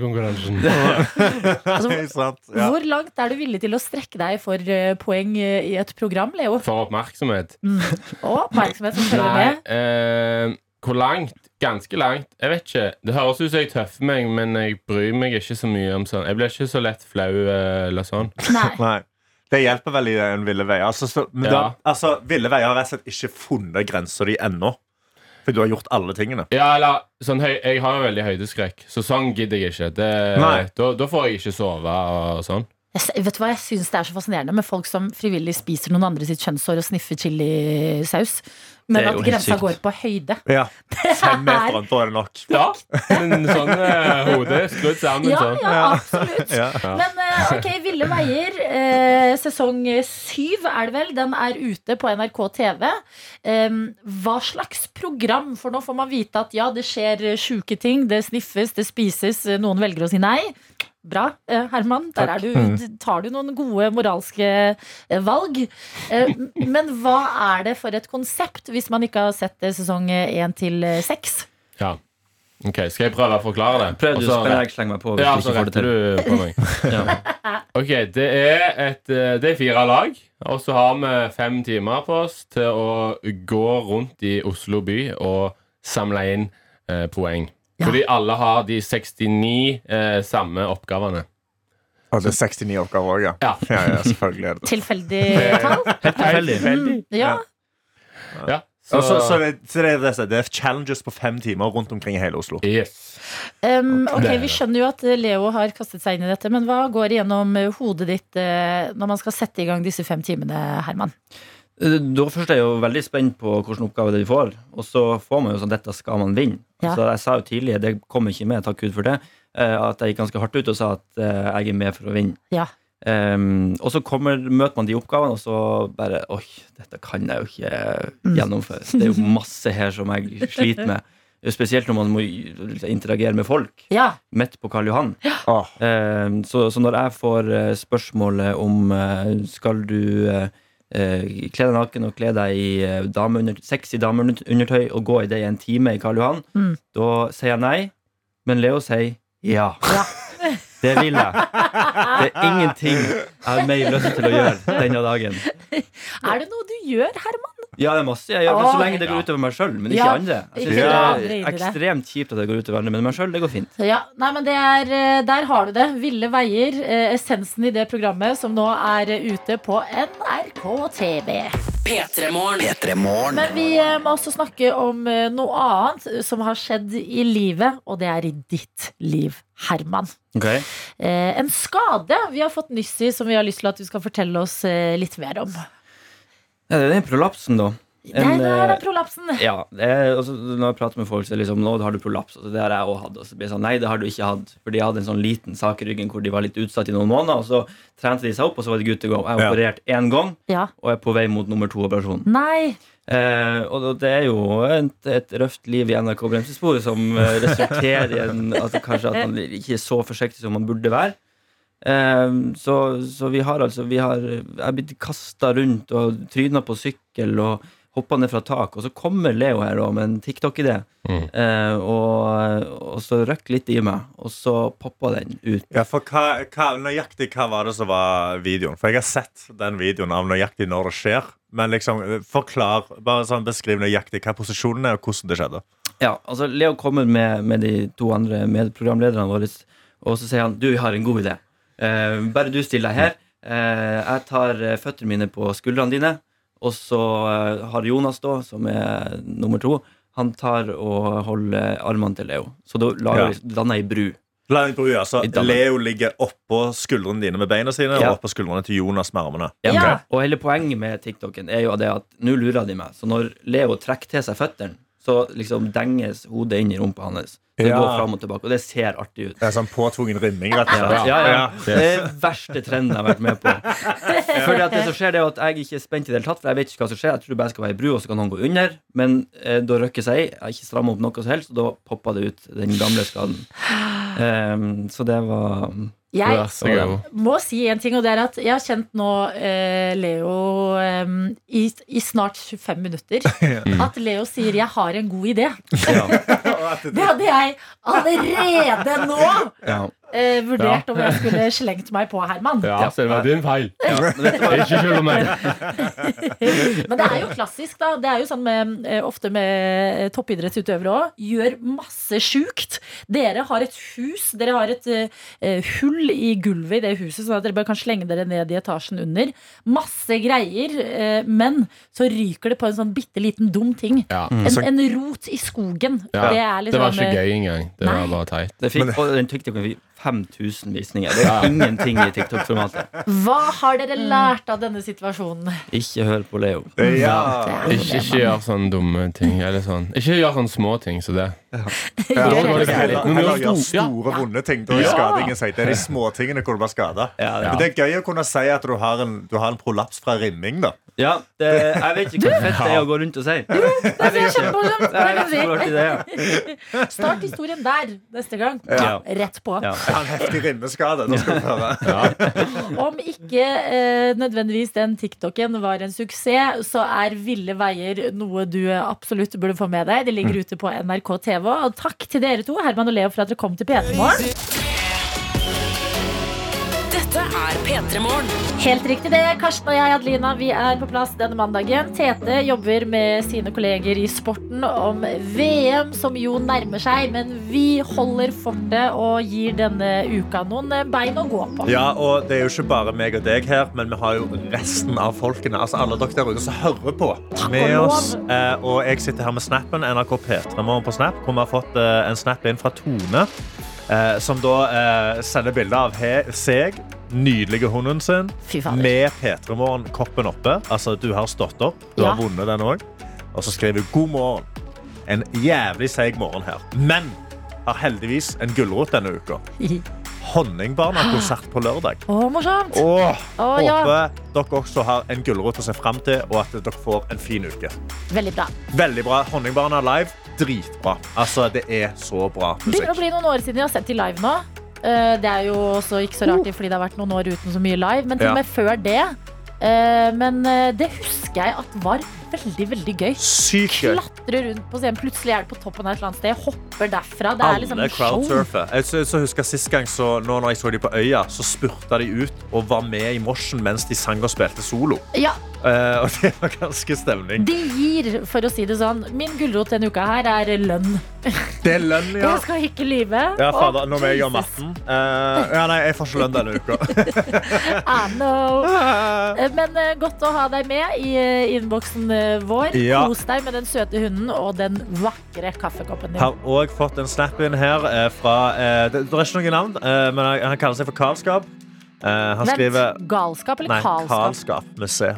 konkurransen.
Nei, sant. Ja.
Hvor langt er du villig til å strekke deg for eh, poeng eh, i et program, Leo?
For oppmerksomhet.
Og oppmerksomhet som følger med.
eh, hvor langt? Ganske langt. Jeg vet ikke. Det høres ut som jeg tøffer meg, men jeg bryr meg ikke så mye om sånn. Jeg blir ikke så lett flau eh, eller sånn.
Nei.
Nei. Det hjelper veldig i en Ville Veier. Altså, så, men da,
Ja.
altså, Ville Veier har rett og slett ikke funnet grensa di ennå. For du har gjort alle tingene.
Ja, eller sånn høy, Jeg har jo veldig høydeskrekk, så sånn gidder jeg ikke. Det,
Nei.
da, da får jeg ikke sove og sånn.
Jeg, s- vet du hva, jeg syns det er så fascinerende med folk som frivillig spiser noen andre sitt kjønnshår og sniffer chilisaus. Men
Det er
at
jo helt
grensa
sykt.
går på høyde.
Ja. Fem meter
Her.
unna er det nok.
Ja, men sånn eh, hode skrudd sammen
Ja,
sånn.
ja, absolutt.
Ja.
Men eh, ok, Ville veier, eh, sesong syv er det vel. Den er ute på NRK TV. Em, hva slags program? For nå får man vite at ja, det skjer eh, sjuke ting. Det sniffes, det spises. eh, Noen velger å si nei. Bra, eh, Herman. Der er
Mm.
du, d- tar du noen gode moralske eh, valg. Eh, m- Men hva er det for et konsept, hvis man ikke har sett eh, sesong eh, én til eh, seks?
Ja. Ok, Skal jeg prøve å forklare det?
Prøv du,
Og så-
så kan jeg slenge meg på hvis
Ja,
du
så
ikke får det
retter
til.
du på meg. Ok, det er, et, eh, det er fire lag, og så har vi fem timer på oss til å gå rundt i Oslo by og samle inn eh, poeng. Fordi alle har de 69 eh, samme oppgavene.
Og det er 69 oppgaver òg, ja.
Ja.
Ja, ja, Selvfølgelig er det det.
Tilfeldig
Eh,
tall?
Helt tilfeldig.
Ja.
Ja,
Og så, så
så
det, så det, er det, det er challenges på fem timer rundt omkring i hele Oslo.
Yes.
Um, ok,
Det er
Vi
det.
skjønner jo at eh, Leo har kastet seg inn i dette, men hva går igjennom eh, hodet ditt eh, når man skal sette i gang disse fem timene, Herman?
Eh, Da først er jeg jo veldig spent på hvilken oppgave det vi får, og så får man jo sånn dette skal man vinne.
Ja.
Så jeg sa jo tidlig, det kommer ikke med, takk Gud for det, eh, at jeg gikk ganske hardt ut og sa at eh, jeg er med for å vinne.
Ja.
Ehm, og så kommer, møter man de oppgavene, og så bare Oi, dette kan jeg jo ikke
Mm.
gjennomføre. Det er jo masse her som jeg sliter med. Spesielt når man må liksom, interagere med folk
ja.
midt på Karl Johan.
Åh.
Ehm, så, så når jeg får eh, spørsmålet om eh, skal du eh, eh, kle deg naken og kle deg i eh, dameunder, sexy dameundertøy og gå i det i en time i Karl Johan,
Mm.
da sier jeg nei, men Leo sier ja. Det vil jeg. Det er ingenting jeg har mer lyst til å gjøre denne dagen.
Er det noe du gjør, Herman?
Ja, det er masse jeg gjør, men så
Åh.
lenge det går utover meg sjøl, men ikke
Ja,
andre. Jeg
ikke
synes
andre
det er
i det.
ekstremt kjipt at det går utover andre, men meg sjøl, det går fint.
Ja, nei, men det er, eh, Der har du det. Ville veier. eh, Essensen i det programmet som nå er eh, ute på NRK TV.
P3-morgen.
Men vi eh, må også snakke om eh, noe annet som har skjedd i livet, og det er i ditt liv, Herman.
Ok.
Eh, en skade vi har fått nyss i, som vi har lyst til at du skal fortelle oss eh, litt mer om.
Ja, det er den prolapsen, da.
Nei, det er
eh,
den prolapsen.
Ja, det er, altså, Når jeg prater med folk, så er det liksom, nå har du prolaps. Altså, det har jeg også hatt. Og så blir jeg sånn, nei, det har du ikke hatt. Fordi jeg hadde en sånn liten sak i ryggen hvor de var litt utsatt i noen måneder. Og så trente de seg opp, og så var det good to go. Jeg har
Ja.
operert én gang,
Ja.
og er på vei mot nummer to-operasjon.
Nei.
Eh, og da- det er jo et, et røft liv i NRK Bremsesporet som eh, resulterer i en, altså kanskje at man ikke er så forsiktig som man burde være. Eh, så, så vi har altså vi har, Jeg har blitt kasta rundt og tryna på sykkel og hoppa ned fra tak. Og så kommer Leo her da med en TikTok-idé eh, og, og så røkk litt i meg, og så poppa den ut.
Ja, for hva, hva, nøyaktig hva var det som var videoen? For jeg har sett den videoen av nøyaktig når det skjer. Men liksom, forklar, bare sånn beskriv nøyaktig hva posisjonen er, og hvordan det skjedde.
Ja, altså Leo kommer med, med de to andre medprogramlederne våre, og så sier han du, vi har en god idé. Eh, bare du stiller deg her. Eh, jeg tar eh, føttene mine på skuldrene dine, og så eh, har Jonas, da, som er nummer to, han tar og holder armene til Leo. Så da
Ja.
lager vi- danner jeg ei bru.
La meg bruke, altså,
I Danmark.
Leo ligger oppå skuldrene dine med beina sine
Ja.
og oppå skuldrene til Jonas med armene.
Ja.
Ok.
Og hele poenget med TikToken er jo det at nå lurer de meg. Så når Leo trekker til seg føttene, så liksom denges hodet inn i rumpa hans. Så det
Ja.
går frem og tilbake, og det ser artig ut.
Det er sånn påtvungen rimming, rett og
Ja,
slett.
ja, ja.
Ja.
Det er den verste trenden jeg har vært med på. Fordi at det som skjer det er at Jeg ikke er spent i det hele tatt, for jeg vet ikke hva som skjer. Jeg tror bare jeg skal være i bru, og så kan noen gå under. Men eh, da røkker jeg seg i. Jeg har ikke strammet opp noe som helst, og da poppa det ut den gamle skaden. Ehm, så det var
Jeg-
Vær så god.
Må si en ting, og det er at jeg har kjent nå eh, Leo eh, i, i snart 25 minutter. At Leo sier 'jeg har en god idé'. Det hadde jeg allerede nå eh, vurdert
Ja.
om jeg skulle slengt meg på Herman.
Ja, så det var din feil. Ikke skyld på meg.
Men det er jo klassisk, da. Det er jo sånn med, eh, ofte med eh, toppidrettsutøvere òg. Gjør masse sjukt. Dere har et hus. Dere har et eh, hull i gulvet i det huset, sånn at dere bare kan slenge dere ned i etasjen under. Masse greier. eh, men så ryker det på en sånn bitte liten dum ting.
Ja.
En,
Så-
en rot i skogen.
Ja.
Det er
Det var
liksom
ikke
eh,
gøy engang. Det var bare teit.
Det fikk, og den TikToken fikk 5000 visninger. Det er ingenting i TikTok-formatet.
Hva har dere lært av denne situasjonen?
Ikke hør på Leo.
Ja. Ikke, ikke gjør sånne dumme ting. Eller sånn. Ikke gjør sånne små ting som det.
Ja,
Gjør
men
det.
det er heller,
Men vi
heller
har
gjøre
stor-
store, vonde ting. Da er
Ja.
skadingen seg. Det er de små tingene hvor du blir skada.
det er-
Men det er gøy å kunne si at du har en, du har en prolaps fra rimming, da.
Ja, det, jeg vet ikke hva fett det er å gå rundt og si. Det
Det er kjempemorsomt!
er
det
så
kan
artig,
jeg
det, ja.
si. Start historien der neste gang.
Ja.
Rett på.
Ja.
Jeg har en heftig rimmeskade. Nå skal du høre.
Om ikke eh, nødvendigvis den TikToken var en suksess, så er Ville veier noe du absolutt burde få med deg. Det ligger ute på NRK TV. Og takk til dere to, Herman og Leo, for at dere kom til P3 Morgen.
Dette er P3-morgen.
Helt riktig det. Karsten og jeg, Adelina, vi er på plass denne mandagen. Tete jobber med sine kolleger i sporten om VM, som jo nærmer seg. Men vi holder fortet og gir denne uka noen bein å gå på.
Ja, og det er jo ikke bare meg og deg her, men vi har jo resten av folkene. Altså alle dere der ute som hører på med
og lov.
oss. Eh, og jeg sitter her med snappen, NRK P3 Morgen på Snap, hvor vi har fått eh, en snap inn fra Tone, eh, som da eh, sender bilde av he seg, nydelige hunden sin,
Fy fader.
med P3 Morgen-koppen oppe. Altså, du har stått opp, du
Ja.
har vunnet den òg. Og så skriver hun god morgen. En jævlig seig morgen her. Men har heldigvis en gulrot denne uka. Honningbarna-konsert på lørdag.
Å, morsomt!
Åh,
Åh, ja.
håper dere også har en gulrot å se fram til, og at dere får en fin uke.
Veldig bra.
Veldig bra. Honningbarna live, dritbra. Altså, det er så bra
begynner å
musikk.
bli noen år siden jeg har sett de live nå. Eh, Det er jo også ikke så rart, fordi det har vært noen år uten så mye live. Men til
Oh. Ja.
og med før det. Eh, Men eh, det husker jeg at var veldig, veldig gøy.
Sykt gøy.
Klatre rundt på scenen, plutselig er det på toppen av et eller annet sted, hopper derfra. Det er liksom
Alle
show.
crowdsurfer. Jeg så, så husker jeg sist gang så, nå når jeg så de på øya, så spurta de ut og var med i mosjen mens de sang og spilte solo.
Ja,
Eh, og det var ganske stemning.
det gir, for å si det sånn, min gulrot denne uka her er lønn.
Det er lønn, ja.
Jeg skal ikke lyve.
Ja, fader,
Å,
nå må jeg gjøre
Jesus.
matten. Eh, ja, nei, jeg får ikke lønn denne uka.
I know. Eh, Men eh, godt å ha deg med i eh, innboksen eh, vår.
Ja.
Kos deg med den søte hunden og den vakre kaffekoppen din.
Har òg fått en snap inn her eh, fra eh, det, det er ikke noe navn, eh, men han, han kaller seg for Karlskap. Eh, han skriver
Vent, galskap eller
Nei,
kalskap?
Karlskap med C.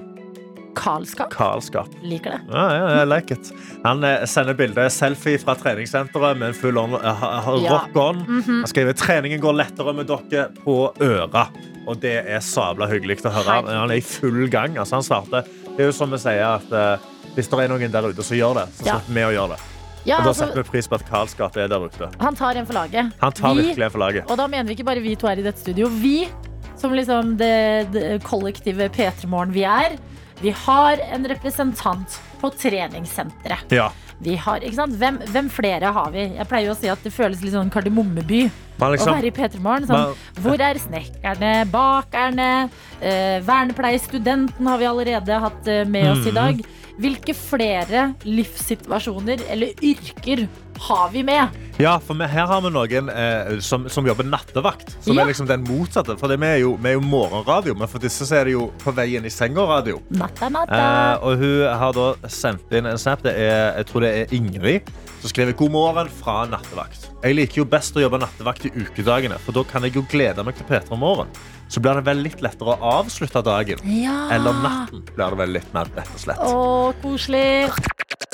Kalskap.
Karlskap.
Liker det.
Ja, ja, I like it. Han eh, sender bilde selfie fra treningssenteret med en full on, eh, ha- ha-
Ja. Mhm.
rock on. Han skriver treningen går lettere med dere på øra. Og det er sabla hyggelig å høre.
Herregud.
Han er i full gang. Altså, han starter. Det er jo som vi sier at eh, hvis det er noen der ute som gjør det, så
Ja.
setter vi å gjøre det.
Ja,
Og da
altså,
setter vi pris på at Karlskap er der ute.
han tar en for laget.
Han tar
Vi-
virkelig en for laget.
Og da mener vi ikke bare vi to her i dette studio. Vi, som liksom det, det kollektive P3morgen vi er, vi har en representant på treningssenteret.
Ja.
Vi har, ikke sant? Hvem, hvem flere har vi? Jeg pleier jo å si at det føles litt sånn Kardemommeby
Man
å
liksom,
være i P3morgen. Sånn, hvor er snekkerne, bakerne, eh, vernepleiestudenten har vi allerede hatt eh, med oss i dag. Hvilke flere livssituasjoner eller yrker har vi med?
ja, for vi, her har vi noen eh, som, som jobber nattevakt. Som
Ja.
er liksom den motsatte. For det, vi, er jo, vi er jo morgenradio, men for disse så er det jo på vei inn i senga-radio.
Natta, natta.
Eh, og hun har da sendt inn en snap. Det er, jeg tror det er Ingrid som skriver god morgen fra nattevakt. Jeg liker jo best å jobbe nattevakt i ukedagene, for da kan jeg jo glede meg til P3 om morgenen. Så blir det vel litt lettere å avslutte dagen.
ja.
Eller om natten blir det vel litt mer, rett og slett.
Ah. Å, koselig.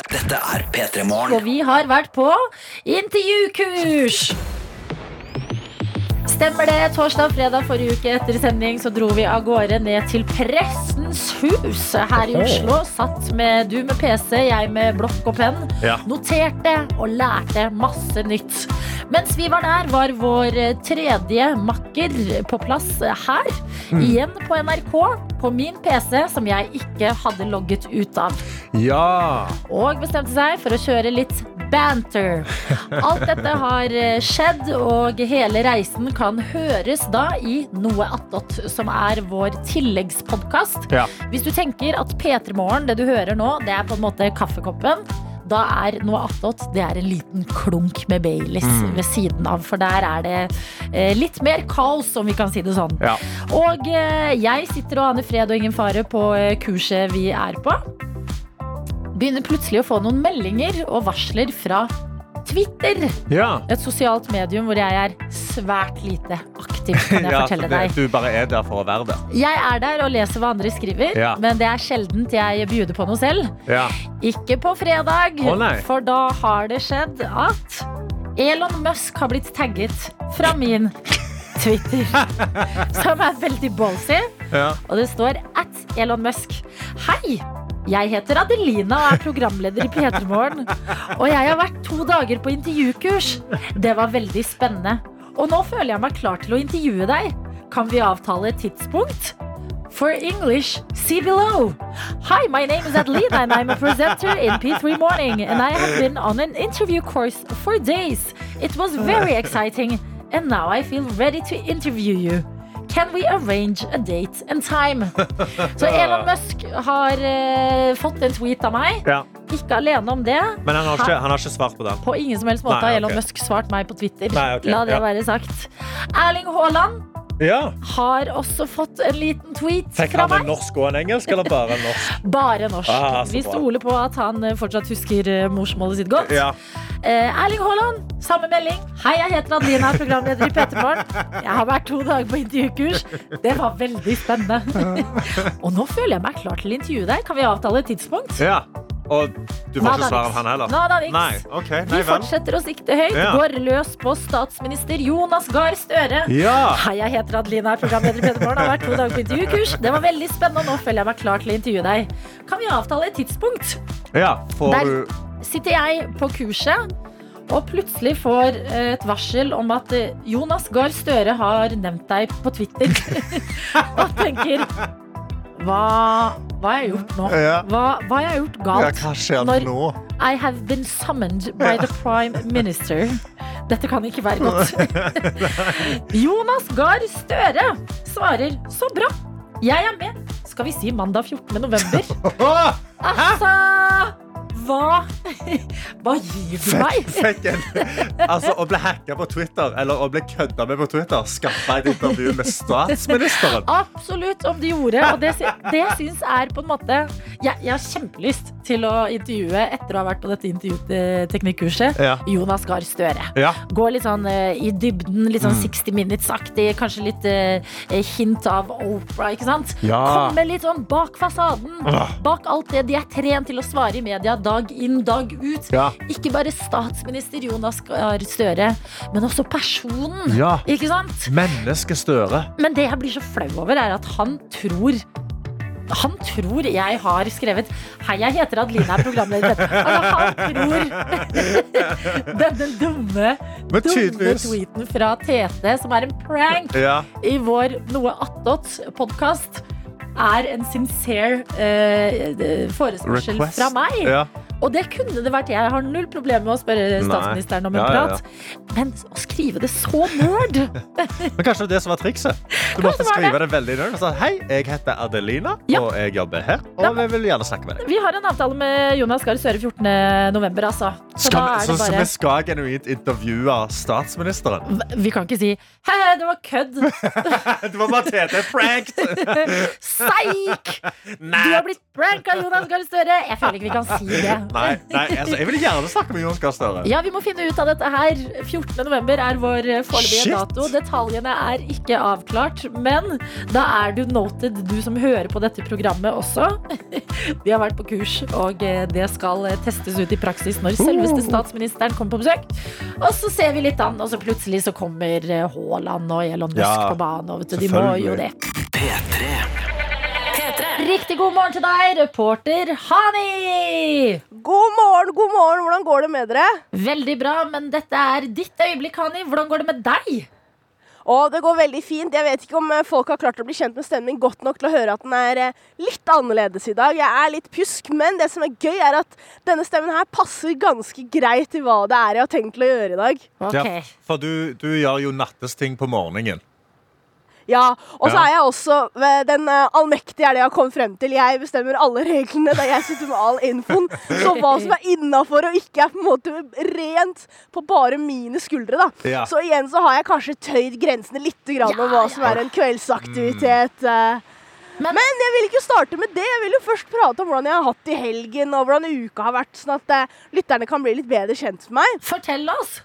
Dette er P3 Morgen.
Og vi har vært på intervjukurs. Stemmer det. Torsdag og fredag forrige uke etter sending så dro vi av gårde ned til Pressens hus her i Oslo. Satt med du med PC, jeg med blokk og penn.
Ja.
Noterte og lærte masse nytt. Mens vi var der, var vår tredje makker på plass her. Igjen på NRK. På min PC, som jeg ikke hadde logget ut av
Ja!
og bestemte seg for å kjøre litt banter. Alt dette har eh, skjedd, og hele reisen kan høres da i Noe attåt, som er vår tilleggspodkast.
Ja.
Hvis du tenker at P3 Morgen, det du hører nå, det er på en måte kaffekoppen. Da er noe attåt det er en liten klunk med Baileys ved siden av. For der er det eh, litt mer kaos, om vi kan si det sånn.
Ja.
Og eh, jeg sitter og aner fred og ingen fare på eh, kurset vi er på. Begynner plutselig å få noen meldinger og varsler fra Twitter.
ja.
Et sosialt medium hvor jeg er svært lite aktiv, kan jeg
Ja, så
fortelle
det,
deg.
du bare er der for å være der.
Jeg er der og leser hva andre skriver,
Ja.
men det er sjeldent jeg bjuder på noe selv.
Ja.
Ikke på fredag,
Å, nei.
for da har det skjedd at Elon Musk har blitt tagget fra min Twitter, som er veldig ballsy.
Ja.
Og det står at Elon Musk. Hei! Jeg heter Adelina og er programleder i P3 Morgen. Og jeg har vært to dager på intervjukurs. Det var veldig spennende. Og nå føler jeg meg klar til å intervjue deg. Kan vi avtale et tidspunkt? For English, see below. Hi, my name is Adelina, and I'm a presenter in P3 Morning. And I have been on an interview course for days. It was very exciting, and now I feel ready to interview you. Can we arrange a date and time? Så Elon Musk har eh, fått en tweet av meg.
Ja.
Ikke alene om det.
Men han har, ikke, han har ikke svart på den.
På ingen som helst måte
Nei,
har Elon
ok.
Musk svart meg på Twitter.
Nei, ok,
La det
ja.
være sagt. Erling Haaland
Ja.
har også fått en liten tweet
Fikk
fra
han en
meg.
norsk og en engelsk, eller bare en norsk?
Bare norsk.
Ah, så
Vi
bra.
stoler på at han eh, fortsatt husker eh, morsmålet sitt godt.
Ja.
Eh, Erling Haaland, samme melding. Hei, jeg heter Adelina, er programleder i P3morgen. Jeg har vært to dager på intervjukurs. Det var veldig spennende. Og nå føler jeg meg klar til å intervjue deg. Kan vi avtale et tidspunkt?
ja. Og du får
Nada
ikke svar
niks.
av han heller?
Nada niks.
Nei. ok.
Vi
Nei vel.
fortsetter å sikte høyt.
Ja.
Går løs på statsminister Jonas Gahr Støre.
Ja.
Hei, jeg heter Adelina, er programleder i Pedermorgen. Har vært to dager på intervjukurs. Det var veldig spennende, og nå føler jeg meg klar til å intervjue deg. Kan vi avtale et tidspunkt?
Ja, får
Der-
du
Sitter jeg på kurset, og plutselig får eh, et varsel om at eh, Jonas Gahr Støre har nevnt deg på Twitter. og tenker hva, Hva har jeg gjort nå?
Ja.
Hva, hva har jeg gjort
Ja,
galt?
hva skjer
Når-
nå?
I have been summoned by the prime minister. Dette kan ikke være godt. Jonas Gahr Støre svarer så bra. Jeg er med. Skal vi si mandag 14. november?
Åh!
Altså, hva Hva gir du
Fikk,
meg?
fikk en, altså, å bli hacka på Twitter eller å bli kødda med på Twitter skaffa et intervju med statsministeren.
Absolutt om de gjorde, og det, sy- det syns er på en måte jeg, jeg har kjempelyst til å intervjue etter å ha vært på dette intervjuteknikkurset.
Ja.
Jonas Gahr Støre.
Ja.
Gå litt sånn eh, i dybden, litt sånn 60 Minutes-aktig. Kanskje litt eh, hint av Opera, ikke sant?
Ja.
Komme litt sånn bak fasaden.
Ah.
Bak alt det de er trent til å svare i media dag inn, dag ut.
Ja.
Ikke bare statsminister Jonas Gahr Støre, men også personen.
Ja.
Ikke sant?
Menneskestøre.
Men det jeg blir så flau over, er at han tror han tror jeg har skrevet 'Hei, jeg heter Adelina, er programleder'. Altså, han tror denne dumme,
Men
dumme
tydeligvis.
tweeten fra Tete, som er en prank
Ja.
i vår Noe attåt-podkast, er en sincere eh, forespørsel
Request.
fra meg.
Ja.
Og det kunne det vært. Jeg har null problem med å spørre
Nei.
statsministeren om en
Ja, ja, ja.
prat. Men å skrive det så nerd!
Men kanskje det var det som var trikset?
det
Du måtte
var det.
skrive det veldig nøye. Sånn, Hei, jeg heter Adelina,
Ja.
og jeg jobber her.
Da-
Og vi vil gjerne snakke med deg.
Vi har en avtale med Jonas Gahr Støre 14. november, altså. Så
Skal
da
vi,
er
så,
det
så vi
bare
skal genuint intervjue statsministeren?
Vi kan ikke si Hei, hei, det var kødd.
Det var bare Tete pranked!
Seik! Du har blitt pranka, Jonas Gahr Støre! Jeg føler ikke vi kan si det.
Nei, nei altså, jeg vil gjerne snakke med Jonas Gahr Støre.
Ja, vi må finne ut av dette her. 14. november er vår
Shit!
foreløpige dato. Detaljene er ikke avklart, men da er du noted, du som hører på dette programmet også. Vi har vært på kurs, og eh, det skal eh, testes ut i praksis når
Oh.
selveste statsministeren kommer på besøk. Og så ser vi litt an, og så plutselig så kommer eh, Haaland og Elon Musk
Ja,
på banen. Og vet du, de må jo det.
selvfølgelig.
P3.
Riktig god morgen til deg, reporter Hani!
God morgen, god morgen. Hvordan går det med dere?
Veldig bra, men dette er ditt øyeblikk, Hani. Hvordan går det med deg?
Å, det går veldig fint. Jeg vet ikke om eh, folk har klart å bli kjent med stemmen min godt nok til å høre at den er eh, litt annerledes i dag. Jeg er litt pjusk, men det som er gøy, er at denne stemmen her passer ganske greit til hva det er jeg har tenkt til å gjøre i dag.
Ja, for du, du gjør jo nattesting på morgenen.
Ja, og så
Ja.
er jeg også eh, den eh, allmektige, er det jeg har kommet frem til. Jeg bestemmer alle reglene, det er jeg sitter med all infoen. Så hva som er innafor og ikke, er på en måte rent på bare mine skuldre, da.
Ja.
Så igjen så har jeg kanskje tøyd grensene litt grann om hva som er en kveldsaktivitet.
Mm.
eh.
Men-
Men, jeg vil ikke starte med det. Jeg vil jo først prate om hvordan jeg har hatt det i helgen, og hvordan uka har vært, sånn at eh, lytterne kan bli litt bedre kjent med meg.
Fortell oss.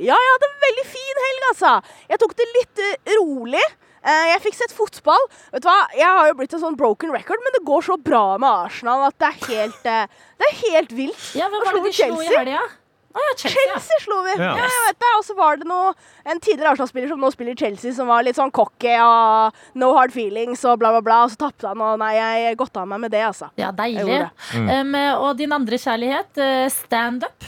Ja, jeg hadde en veldig fin helg, altså. Jeg tok det litt eh, rolig. Eh, Jeg fikk sett fotball. Vet du hva? Jeg har jo blitt en sånn broken record, men det går så bra med Arsenal at det er helt, eh, det er helt vilt.
Ja, hvem
Hva
var det
slo
de slo i
Chelsea?
helga? Å ja, Chelsea. ja.
Chelsea slo vi.
Ja.
Ja, jeg vet det. Og så var det noe, en tidligere Arsenal-spiller som nå spiller i Chelsea, som var litt sånn cocky og no hard feelings og bla, bla, bla. Og så tapte han, og nei, jeg godta meg med det, altså.
Ja,
Jeg
deilig.
gjorde det.
Um, og din andre kjærlighet, eh, standup.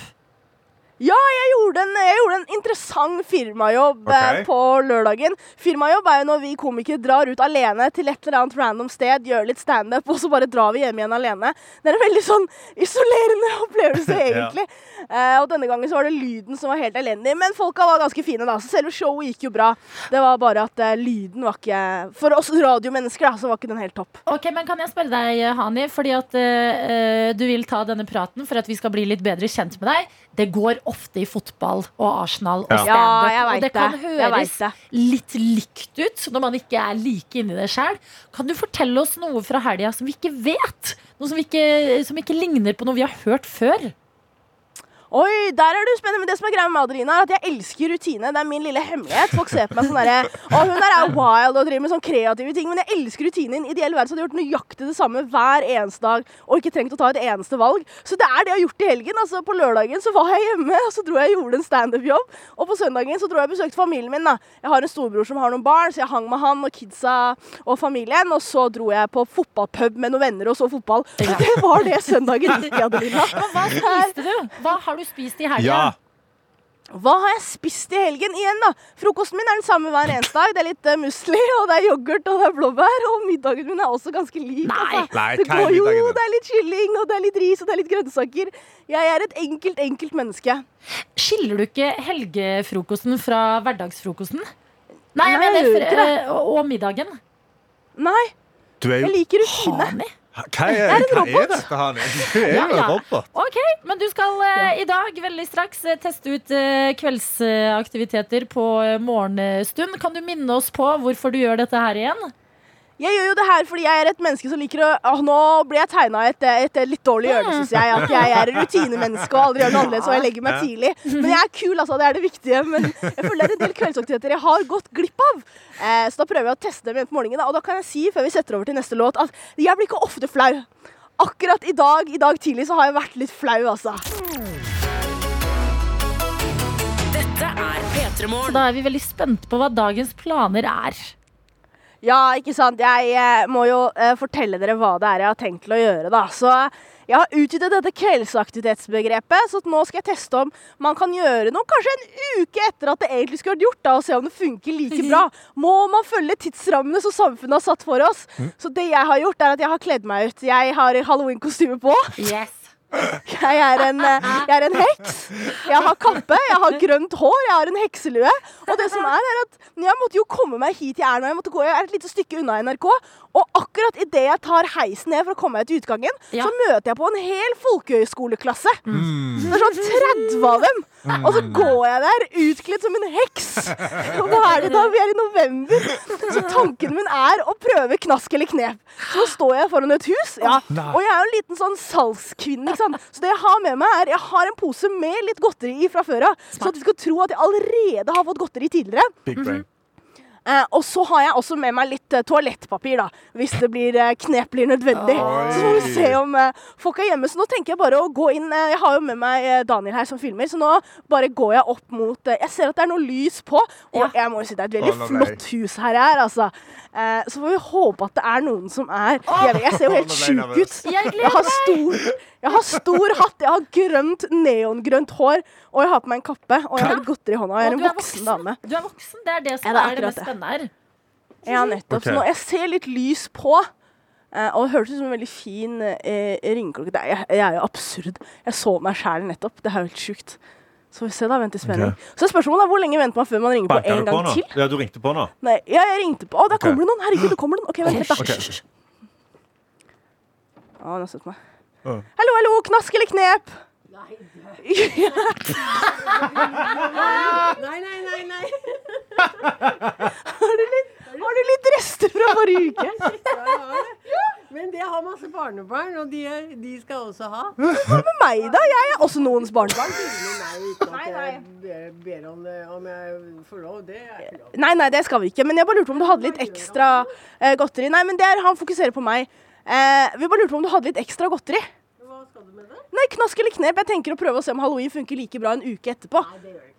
Ja, jeg gjorde en, jeg gjorde en interessant firmajobb eh,
Ok.
på lørdagen. Firmajobb er jo når vi komikere drar ut alene til et eller annet random sted, gjør litt standup, og så bare drar vi hjem igjen alene. Det er en veldig sånn isolerende opplevelse, egentlig. Eh, og denne gangen så var det lyden som var helt elendig, men folka var ganske fine, da. Så selve showet gikk jo bra. Det var bare at eh, lyden var ikke For oss radiomennesker, da, så var ikke den helt topp.
Ok, men Kan jeg spørre deg, Hani, fordi at eh, eh, du vil ta denne praten for at vi skal bli litt bedre kjent med deg. Det går ofte i fotball og Arsenal og
Ja.
standup.
Ja, jeg
og
veit
det
det.
kan
Jeg
høres
vet det.
litt likt ut når man ikke er like inni det sjøl. Kan du fortelle oss noe fra helga som vi ikke vet? Noe som ikke, som ikke ligner på noe vi har hørt før?
Oi, der er du spennende. Men det som er greia med Adelina, er at jeg elsker rutine. Det er min lille hemmelighet. Folk ser på meg sånn derre Å, hun der er wild og driver med sånn kreative ting. Men jeg elsker rutine. I en ideell verden så hadde jeg gjort nøyaktig det samme hver eneste dag og ikke trengt å ta et eneste valg. Så det er det jeg har gjort i helgen. Altså, på lørdagen så var jeg hjemme, og så dro jeg og gjorde en standup-jobb. Og på søndagen så dro jeg og besøkte familien min, da. Jeg har en storbror som har noen barn, så jeg hang med han og kidsa og familien. Og så dro jeg på fotballpub med noen venner og så fotball. Og det var det søndagen gikk, Adelina.
Hva spiste du? Hva har du spist i helga?
Ja.
Hva har jeg spist i helgen igjen, da? Frokosten min er den samme hver eneste dag. Det er litt eh, musli, og det er yoghurt, og det er blåbær. Og middagen min er også ganske lik. Nei,
Nei,
det
hva er
går jo,
middagen din?
det er litt kylling, og det er litt ris, og det er litt grønnsaker. Jeg er et enkelt, enkelt menneske.
Skiller du ikke helgefrokosten fra hverdagsfrokosten? Nei, jeg
Nei,
mener
jeg gjør ikke
for,
det.
eh, og, og middagen.
Nei.
Du er jo
liker rutine.
Hva
Jeg
er,
er en
hva er
robot. Mhm.
dette, Hanne? Du er
Ja,
jo en
ja.
robot.
Ok, men du skal eh, i dag veldig straks eh, teste ut eh, kveldsaktiviteter på eh, morgenstund. Kan du minne oss på hvorfor du gjør dette her igjen?
Jeg gjør jo det her fordi jeg er et menneske som liker å Åh, Nå ble jeg tegna et, et litt dårlig hjørne, syns jeg. At jeg er rutinemenneske og aldri gjør noe annerledes, og jeg legger meg tidlig. Men jeg er kul, altså. Det er det viktige. Men jeg føler det er en del kveldsaktiviteter jeg har gått glipp av. Eh, så da prøver jeg å teste dem igjen på morgenen. da. Og da kan jeg si, før vi setter over til neste låt, at jeg blir ikke ofte flau. Akkurat i dag, i dag tidlig, så har jeg vært litt flau, altså.
Dette er P3
Så
Morgen.
da er vi veldig spent på hva dagens planer er.
Ja, ikke sant. Jeg eh, må jo eh, fortelle dere hva det er jeg har tenkt til å gjøre, da. Så eh, jeg har utvidet dette kveldsaktivitetsbegrepet, så at nå skal jeg teste om man kan gjøre noe kanskje en uke etter at det egentlig skulle vært gjort, da, og se om det funker like bra. Må man følge tidsrammene som samfunnet har satt for oss? Så det jeg har gjort, er at jeg har kledd meg ut. Jeg har halloween-kostyme på. Jeg er, en, eh, jeg er en heks. Jeg har kappe, jeg har grønt hår, jeg har en hekselue. Og det som er, er at jeg måtte jo komme meg hit jeg er nå. Jeg måtte gå jeg er et lite stykke unna NRK. Og akkurat idet jeg tar heisen ned for å komme meg til utgangen, så møter jeg på en hel folkehøyskoleklasse. Det er sånn 30 av dem. Og så går jeg der utkledd som en heks. Og hva er det da? Vi er i november. Så tanken min er å prøve knask eller knep. Så står jeg foran et hus, ja.
Nei.
og jeg er jo en liten sånn salgskvinne. Ikke sant? Så det jeg har med meg, er jeg har en pose med litt godteri i fra før av. Så at du skal tro at jeg allerede har fått godteri tidligere.
Big brain.
Eh, og så har jeg også med meg litt eh, toalettpapir, da, hvis det blir eh, knep blir nødvendig.
Oi.
Så får vi se om eh, folk er hjemme. Så nå tenker jeg bare å gå inn eh, Jeg har jo med meg eh, Daniel her som filmer, så nå bare går jeg opp mot eh, Jeg ser at det er noe lys på, og jeg må jo si det er et veldig
Å, nå ble jeg-
flott hus her er, altså. Eh, så får vi håpe at det er noen som er Jeg, vet, jeg ser jo helt
Nå ble jeg
sjuk ut.
nervøs. Jeg gleder
har stor, jeg har stor hatt, jeg har grønt, neongrønt hår, og jeg har på meg en kappe, og jeg har litt godteri i hånda, og jeg er
Og
en
du er
voksen dame.
Du er voksen, det er det som
Ja, det er
er, det
akkurat
mest
det.
spennende her.
Ja, nettopp. Så
Ok.
nå, jeg ser litt lys på. eh, Og det hørtes ut som en veldig fin eh, ringeklokke. Det er- Jeg, jeg er jo absurd. Jeg så meg sjæl nettopp. Det er jo helt sjukt. Så vi ser da, vent i spenning.
Ok.
Så spørsmålet er hvor lenge venter man før man ringer på
Banker
en
du på
gang
nå?
til?
Ja, du ringte på nå.
Nei, ja, jeg ringte på. Å, der
Ok.
kommer det noen! Herregud, der kommer det noen. OK, vent litt, da.
Ok.
Å, han har sett meg. Hallo, hallo! Knask eller knep?
Nei, nei, nei, nei.
Har du litt, har du litt rester fra forrige uke?
Men det har masse barnebarn, og de, er, de skal også ha.
Hva med meg, da? Jeg er også noens barnebarn.
Nei, ikke at jeg be- ber om, det, om jeg får lov. Det er ikke lov.
Nei, nei, det skal vi ikke. Men jeg bare lurte på om du hadde litt ekstra eh, godteri. Nei, men det er han fokuserer på meg. Eh, vi bare lurte på om du hadde litt ekstra godteri. Hva skal du med det? Nei, Knask eller knep. Jeg tenker å prøve å se om halloween funker like bra en uke etterpå. Nei,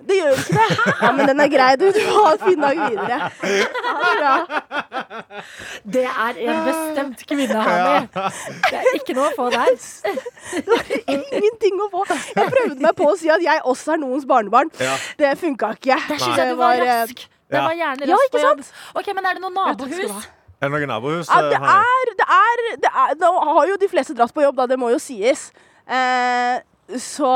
det gjør ikke det. Ja, men den er grei, du. Du har en fin dag videre. Ha det bra.
Det er en bestemt kvinne, Hanni. Det er ikke noe å få der.
Ingenting å få. Jeg prøvde meg på å si at jeg også er noens barnebarn.
Ja.
Det funka ikke.
Der synes jeg du var
eh,
rask. Det var gjerne
Ja,
rask
ikke
på jobb.
sant?
Ok, men er det noe
takk skal du
nabohus?
Er det noe nabohus?
Ja, det
eh, Hanne?
er, det er, det er Nå har jo de fleste dratt på jobb, da. Det må jo sies. Eh, så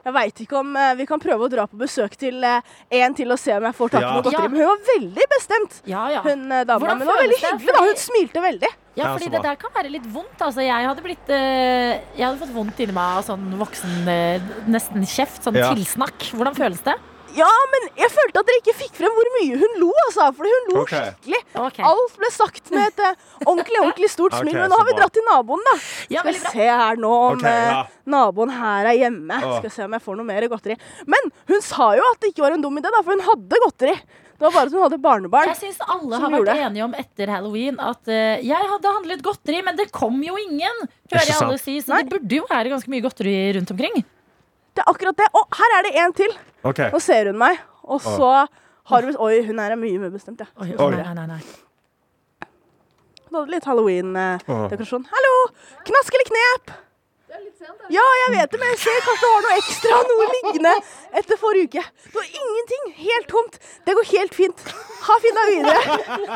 jeg veit ikke om eh, vi kan prøve å dra på besøk til eh, en til og se om jeg får tak i
Ja.
noe godteri.
Ja.
Men hun var veldig bestemt,
ja.
hun eh, dama.
Hvordan
Men hun var
føles
veldig
det?
hyggelig, da. Hun smilte veldig.
Ja, fordi det der kan være litt vondt. Altså, jeg, hadde blitt, eh, jeg hadde fått vondt inni meg av sånn voksen eh, nesten kjeft, sånn
Ja.
tilsnakk. Hvordan føles det?
Ja, men jeg følte at dere ikke fikk frem hvor mye hun lo, altså. Fordi hun lo
Ok.
skikkelig. Alt ble sagt med et eh, ordentlig, ordentlig stort
Ok,
smil. Men
så
nå har vi
bra.
dratt til naboen, da. Skal vi se her nå om
Ok, ja.
eh, naboen her er hjemme.
Åh.
Skal vi se om jeg får noe mer godteri. Men hun sa jo at det ikke var en dum idé, da, for hun hadde godteri. Det var bare at hun hadde barnebarn.
Jeg syns alle
som
har vært
gjorde det.
enige om etter halloween at eh, jeg hadde handlet godteri, men det kom jo ingen. Hører
Ikke
jeg alle
sant?
si, så det burde jo være ganske mye godteri rundt omkring.
Det er akkurat det. Å, her er det en til.
Ok.
Nå ser hun meg, og
Åh.
så har hun Oi, hun her er mye mer bestemt, ja.
Oi,
Oi.
Nei, nei, nei.
Hun hadde litt eh,
Åh.
halloween-dekorasjon. Hallo! Knask eller knep? Ja, jeg vet det, men jeg ser kanskje du har noe ekstra, noe liggende etter forrige uke. Du har ingenting. Helt tomt. Det går helt fint. Ha finna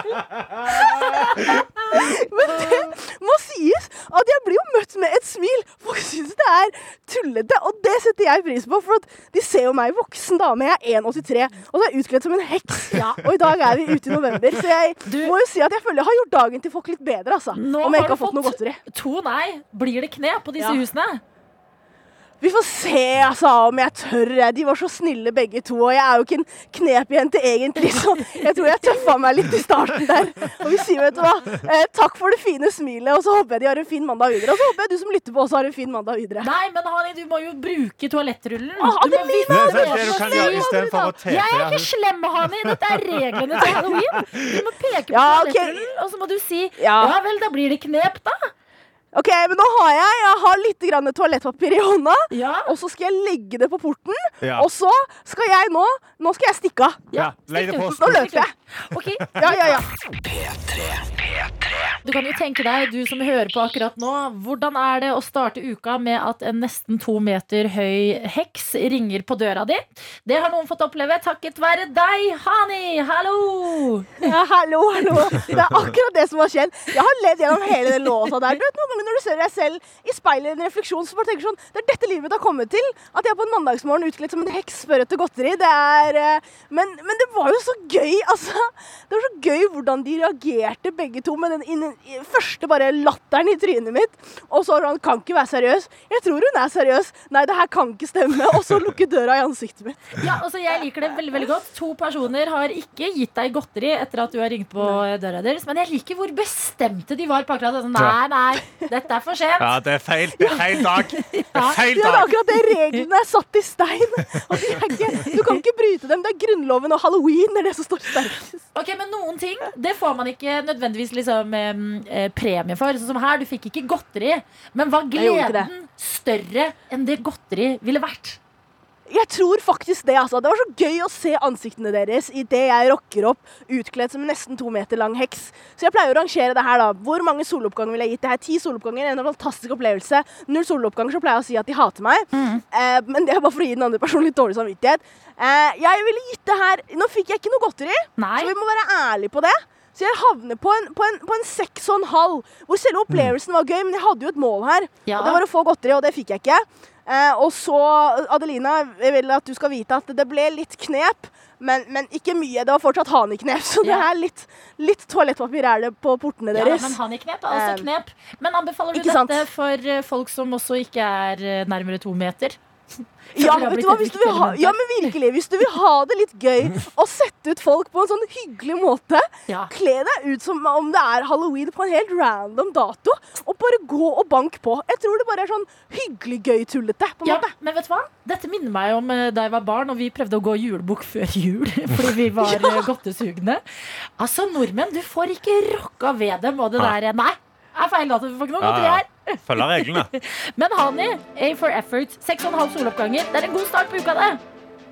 videre. Men det må sies at jeg blir jo møtt med et smil. Folk syns det er tullete, og det setter jeg pris på. For at de ser jo meg voksen dame. Jeg er 1,83 og så er jeg utkledd som en heks. Og i dag er vi ute i november, så jeg må jo si at jeg føler jeg har gjort dagen til folk litt bedre, altså.
Nå
om jeg
har
ikke
du
har fått noe
fått
godteri.
to nei. Blir det kne på disse
Ja.
husene?
Vi får se altså, om jeg tør. jeg. De var så snille begge to. Og jeg er jo ikke en knepjente egentlig, så jeg tror jeg tøffa meg litt i starten der. Og vi sier, vet du hva, eh, takk for det fine smilet, og så håper jeg de har en fin mandag videre. Og så håper jeg du som lytter på også har en fin mandag videre.
Nei, men Hani, du må jo bruke toalettrullen.
Åh,
Du må
Adelina,
vite
det er
hva
det du
som
kan
skjer.
gjøre i stedet for å tepe
Jeg er
henne.
ikke slem, Hani. Dette er reglene til halloween. Du må peke på
Ja, ok.
toalettrullen, og så må du si ja.
Ja.
vel, da blir det knep, da.
Ok, men nå har jeg, jeg har litt grann toalettpapir i hånda, og så skal jeg legge det på porten.
Ja.
Og så skal jeg nå Nå skal jeg stikke av.
Ja, legg det på
Nå løper jeg. Ja, ja, ja.
Du kan jo tenke deg, du som hører på akkurat nå, hvordan er det å starte uka med at en nesten to meter høy heks ringer på døra di? Det har noen fått oppleve takket være deg, Hani. Hallo!
Ja, hallo, hallo. Det er akkurat det som har skjedd. Jeg har levd gjennom hele den låta der. Du vet, Noen ganger når du ser deg selv i speilet i en refleksjon, så bare tenker du sånn Det er dette livet mitt har kommet til. At jeg på en mandagsmorgen utkledd som en heks spør etter godteri. Det er eh, men, men det var jo så gøy, altså. Det var så gøy hvordan de reagerte begge to med den inn- i- første bare latteren i trynet mitt. Og så var han kan ikke være seriøs. Jeg tror hun er seriøs. Nei, det her kan ikke stemme. Og så lukke døra i ansiktet mitt.
Ja, altså Jeg liker det veldig veldig godt. To personer har ikke gitt deg godteri etter at du har ringt på døra deres, men jeg liker hvor bestemte de var på akkurat det. Sånn, Nei, nei, dette er for sent.
Ja, det er feil. Det er feil dag. Det er feil
Ja, det er
dag.
akkurat det. Reglene er satt i stein. Og de er ikke, du kan ikke bryte dem. Det er Grunnloven og halloween er det som står sterkest.
Ok, Men noen ting det får man ikke nødvendigvis liksom, em, eh, premie for. Sånn som her, du fikk ikke godteri. Men var
Jeg gjorde ikke det.
gleden større enn det godteri ville vært?
Jeg tror faktisk det. altså. Det var så gøy å se ansiktene deres idet jeg rocker opp utkledd som en nesten to meter lang heks. Så jeg pleier å rangere det her, da. Hvor mange soloppganger ville jeg gitt det her? Ti soloppganger, en fantastisk opplevelse. Null soloppganger, så pleier jeg å si at de hater meg. Eh, men det er bare for å gi den andre personen litt dårlig samvittighet. Eh, jeg ville gitt det her Nå fikk jeg ikke noe godteri, så vi må være ærlige på det. Så jeg havner på en, på en, på en seks og en halv, hvor selve opplevelsen var gøy, men jeg hadde jo et mål her.
Ja.
Og det var å få godteri, og det fikk jeg ikke. Eh, og så, Adelina, jeg vil at du skal vite at det ble litt knep, men, men ikke mye. Det var fortsatt haneknep, så det
Ja.
er litt, litt toalettpapir er det på portene
Ja,
deres.
men han i knep er altså
Eh,
knep. Men anbefaler du
ikke sant?
dette for eh, folk som også ikke er eh, nærmere to meter?
Ja,
For det har
vet
blitt
du hva,
et
hvis du
viktig
vil ha,
element
ja,
her.
men virkelig, hvis du vil ha det litt gøy og sette ut folk på en sånn hyggelig måte,
Ja.
kle deg ut som om det er halloween på en helt random dato, og bare gå og bank på. Jeg tror det bare er sånn hyggelig gøy-tullete. på en
Ja,
måte.
men vet du hva? Dette minner meg om eh, da jeg var barn og vi prøvde å gå julebukk før jul. Fordi vi var eh, godtesugne. Altså, nordmenn, du får ikke rocka ved dem og det
Nei.
der eh, Nei! Det er feil dato. Du får ikke noe
Ja,
godteri
ja.
her.
Følg reglene.
Men Hani, A for effort. Seks og en halv soloppganger. Det er en god start på uka, det.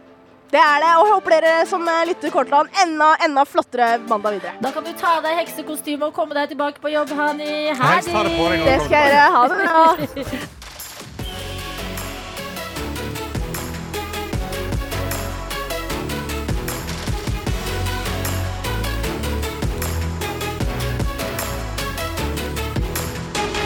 Det er det, og jeg håper dere som eh, lytter kort til han, enda, enda flottere mandag videre.
Da kan du ta av deg heksekostymet og komme deg tilbake på jobb, Hani.
Helst ta det på deg når du Det
Det
kommer skal jeg tilbake. gjøre. Ha det
bra.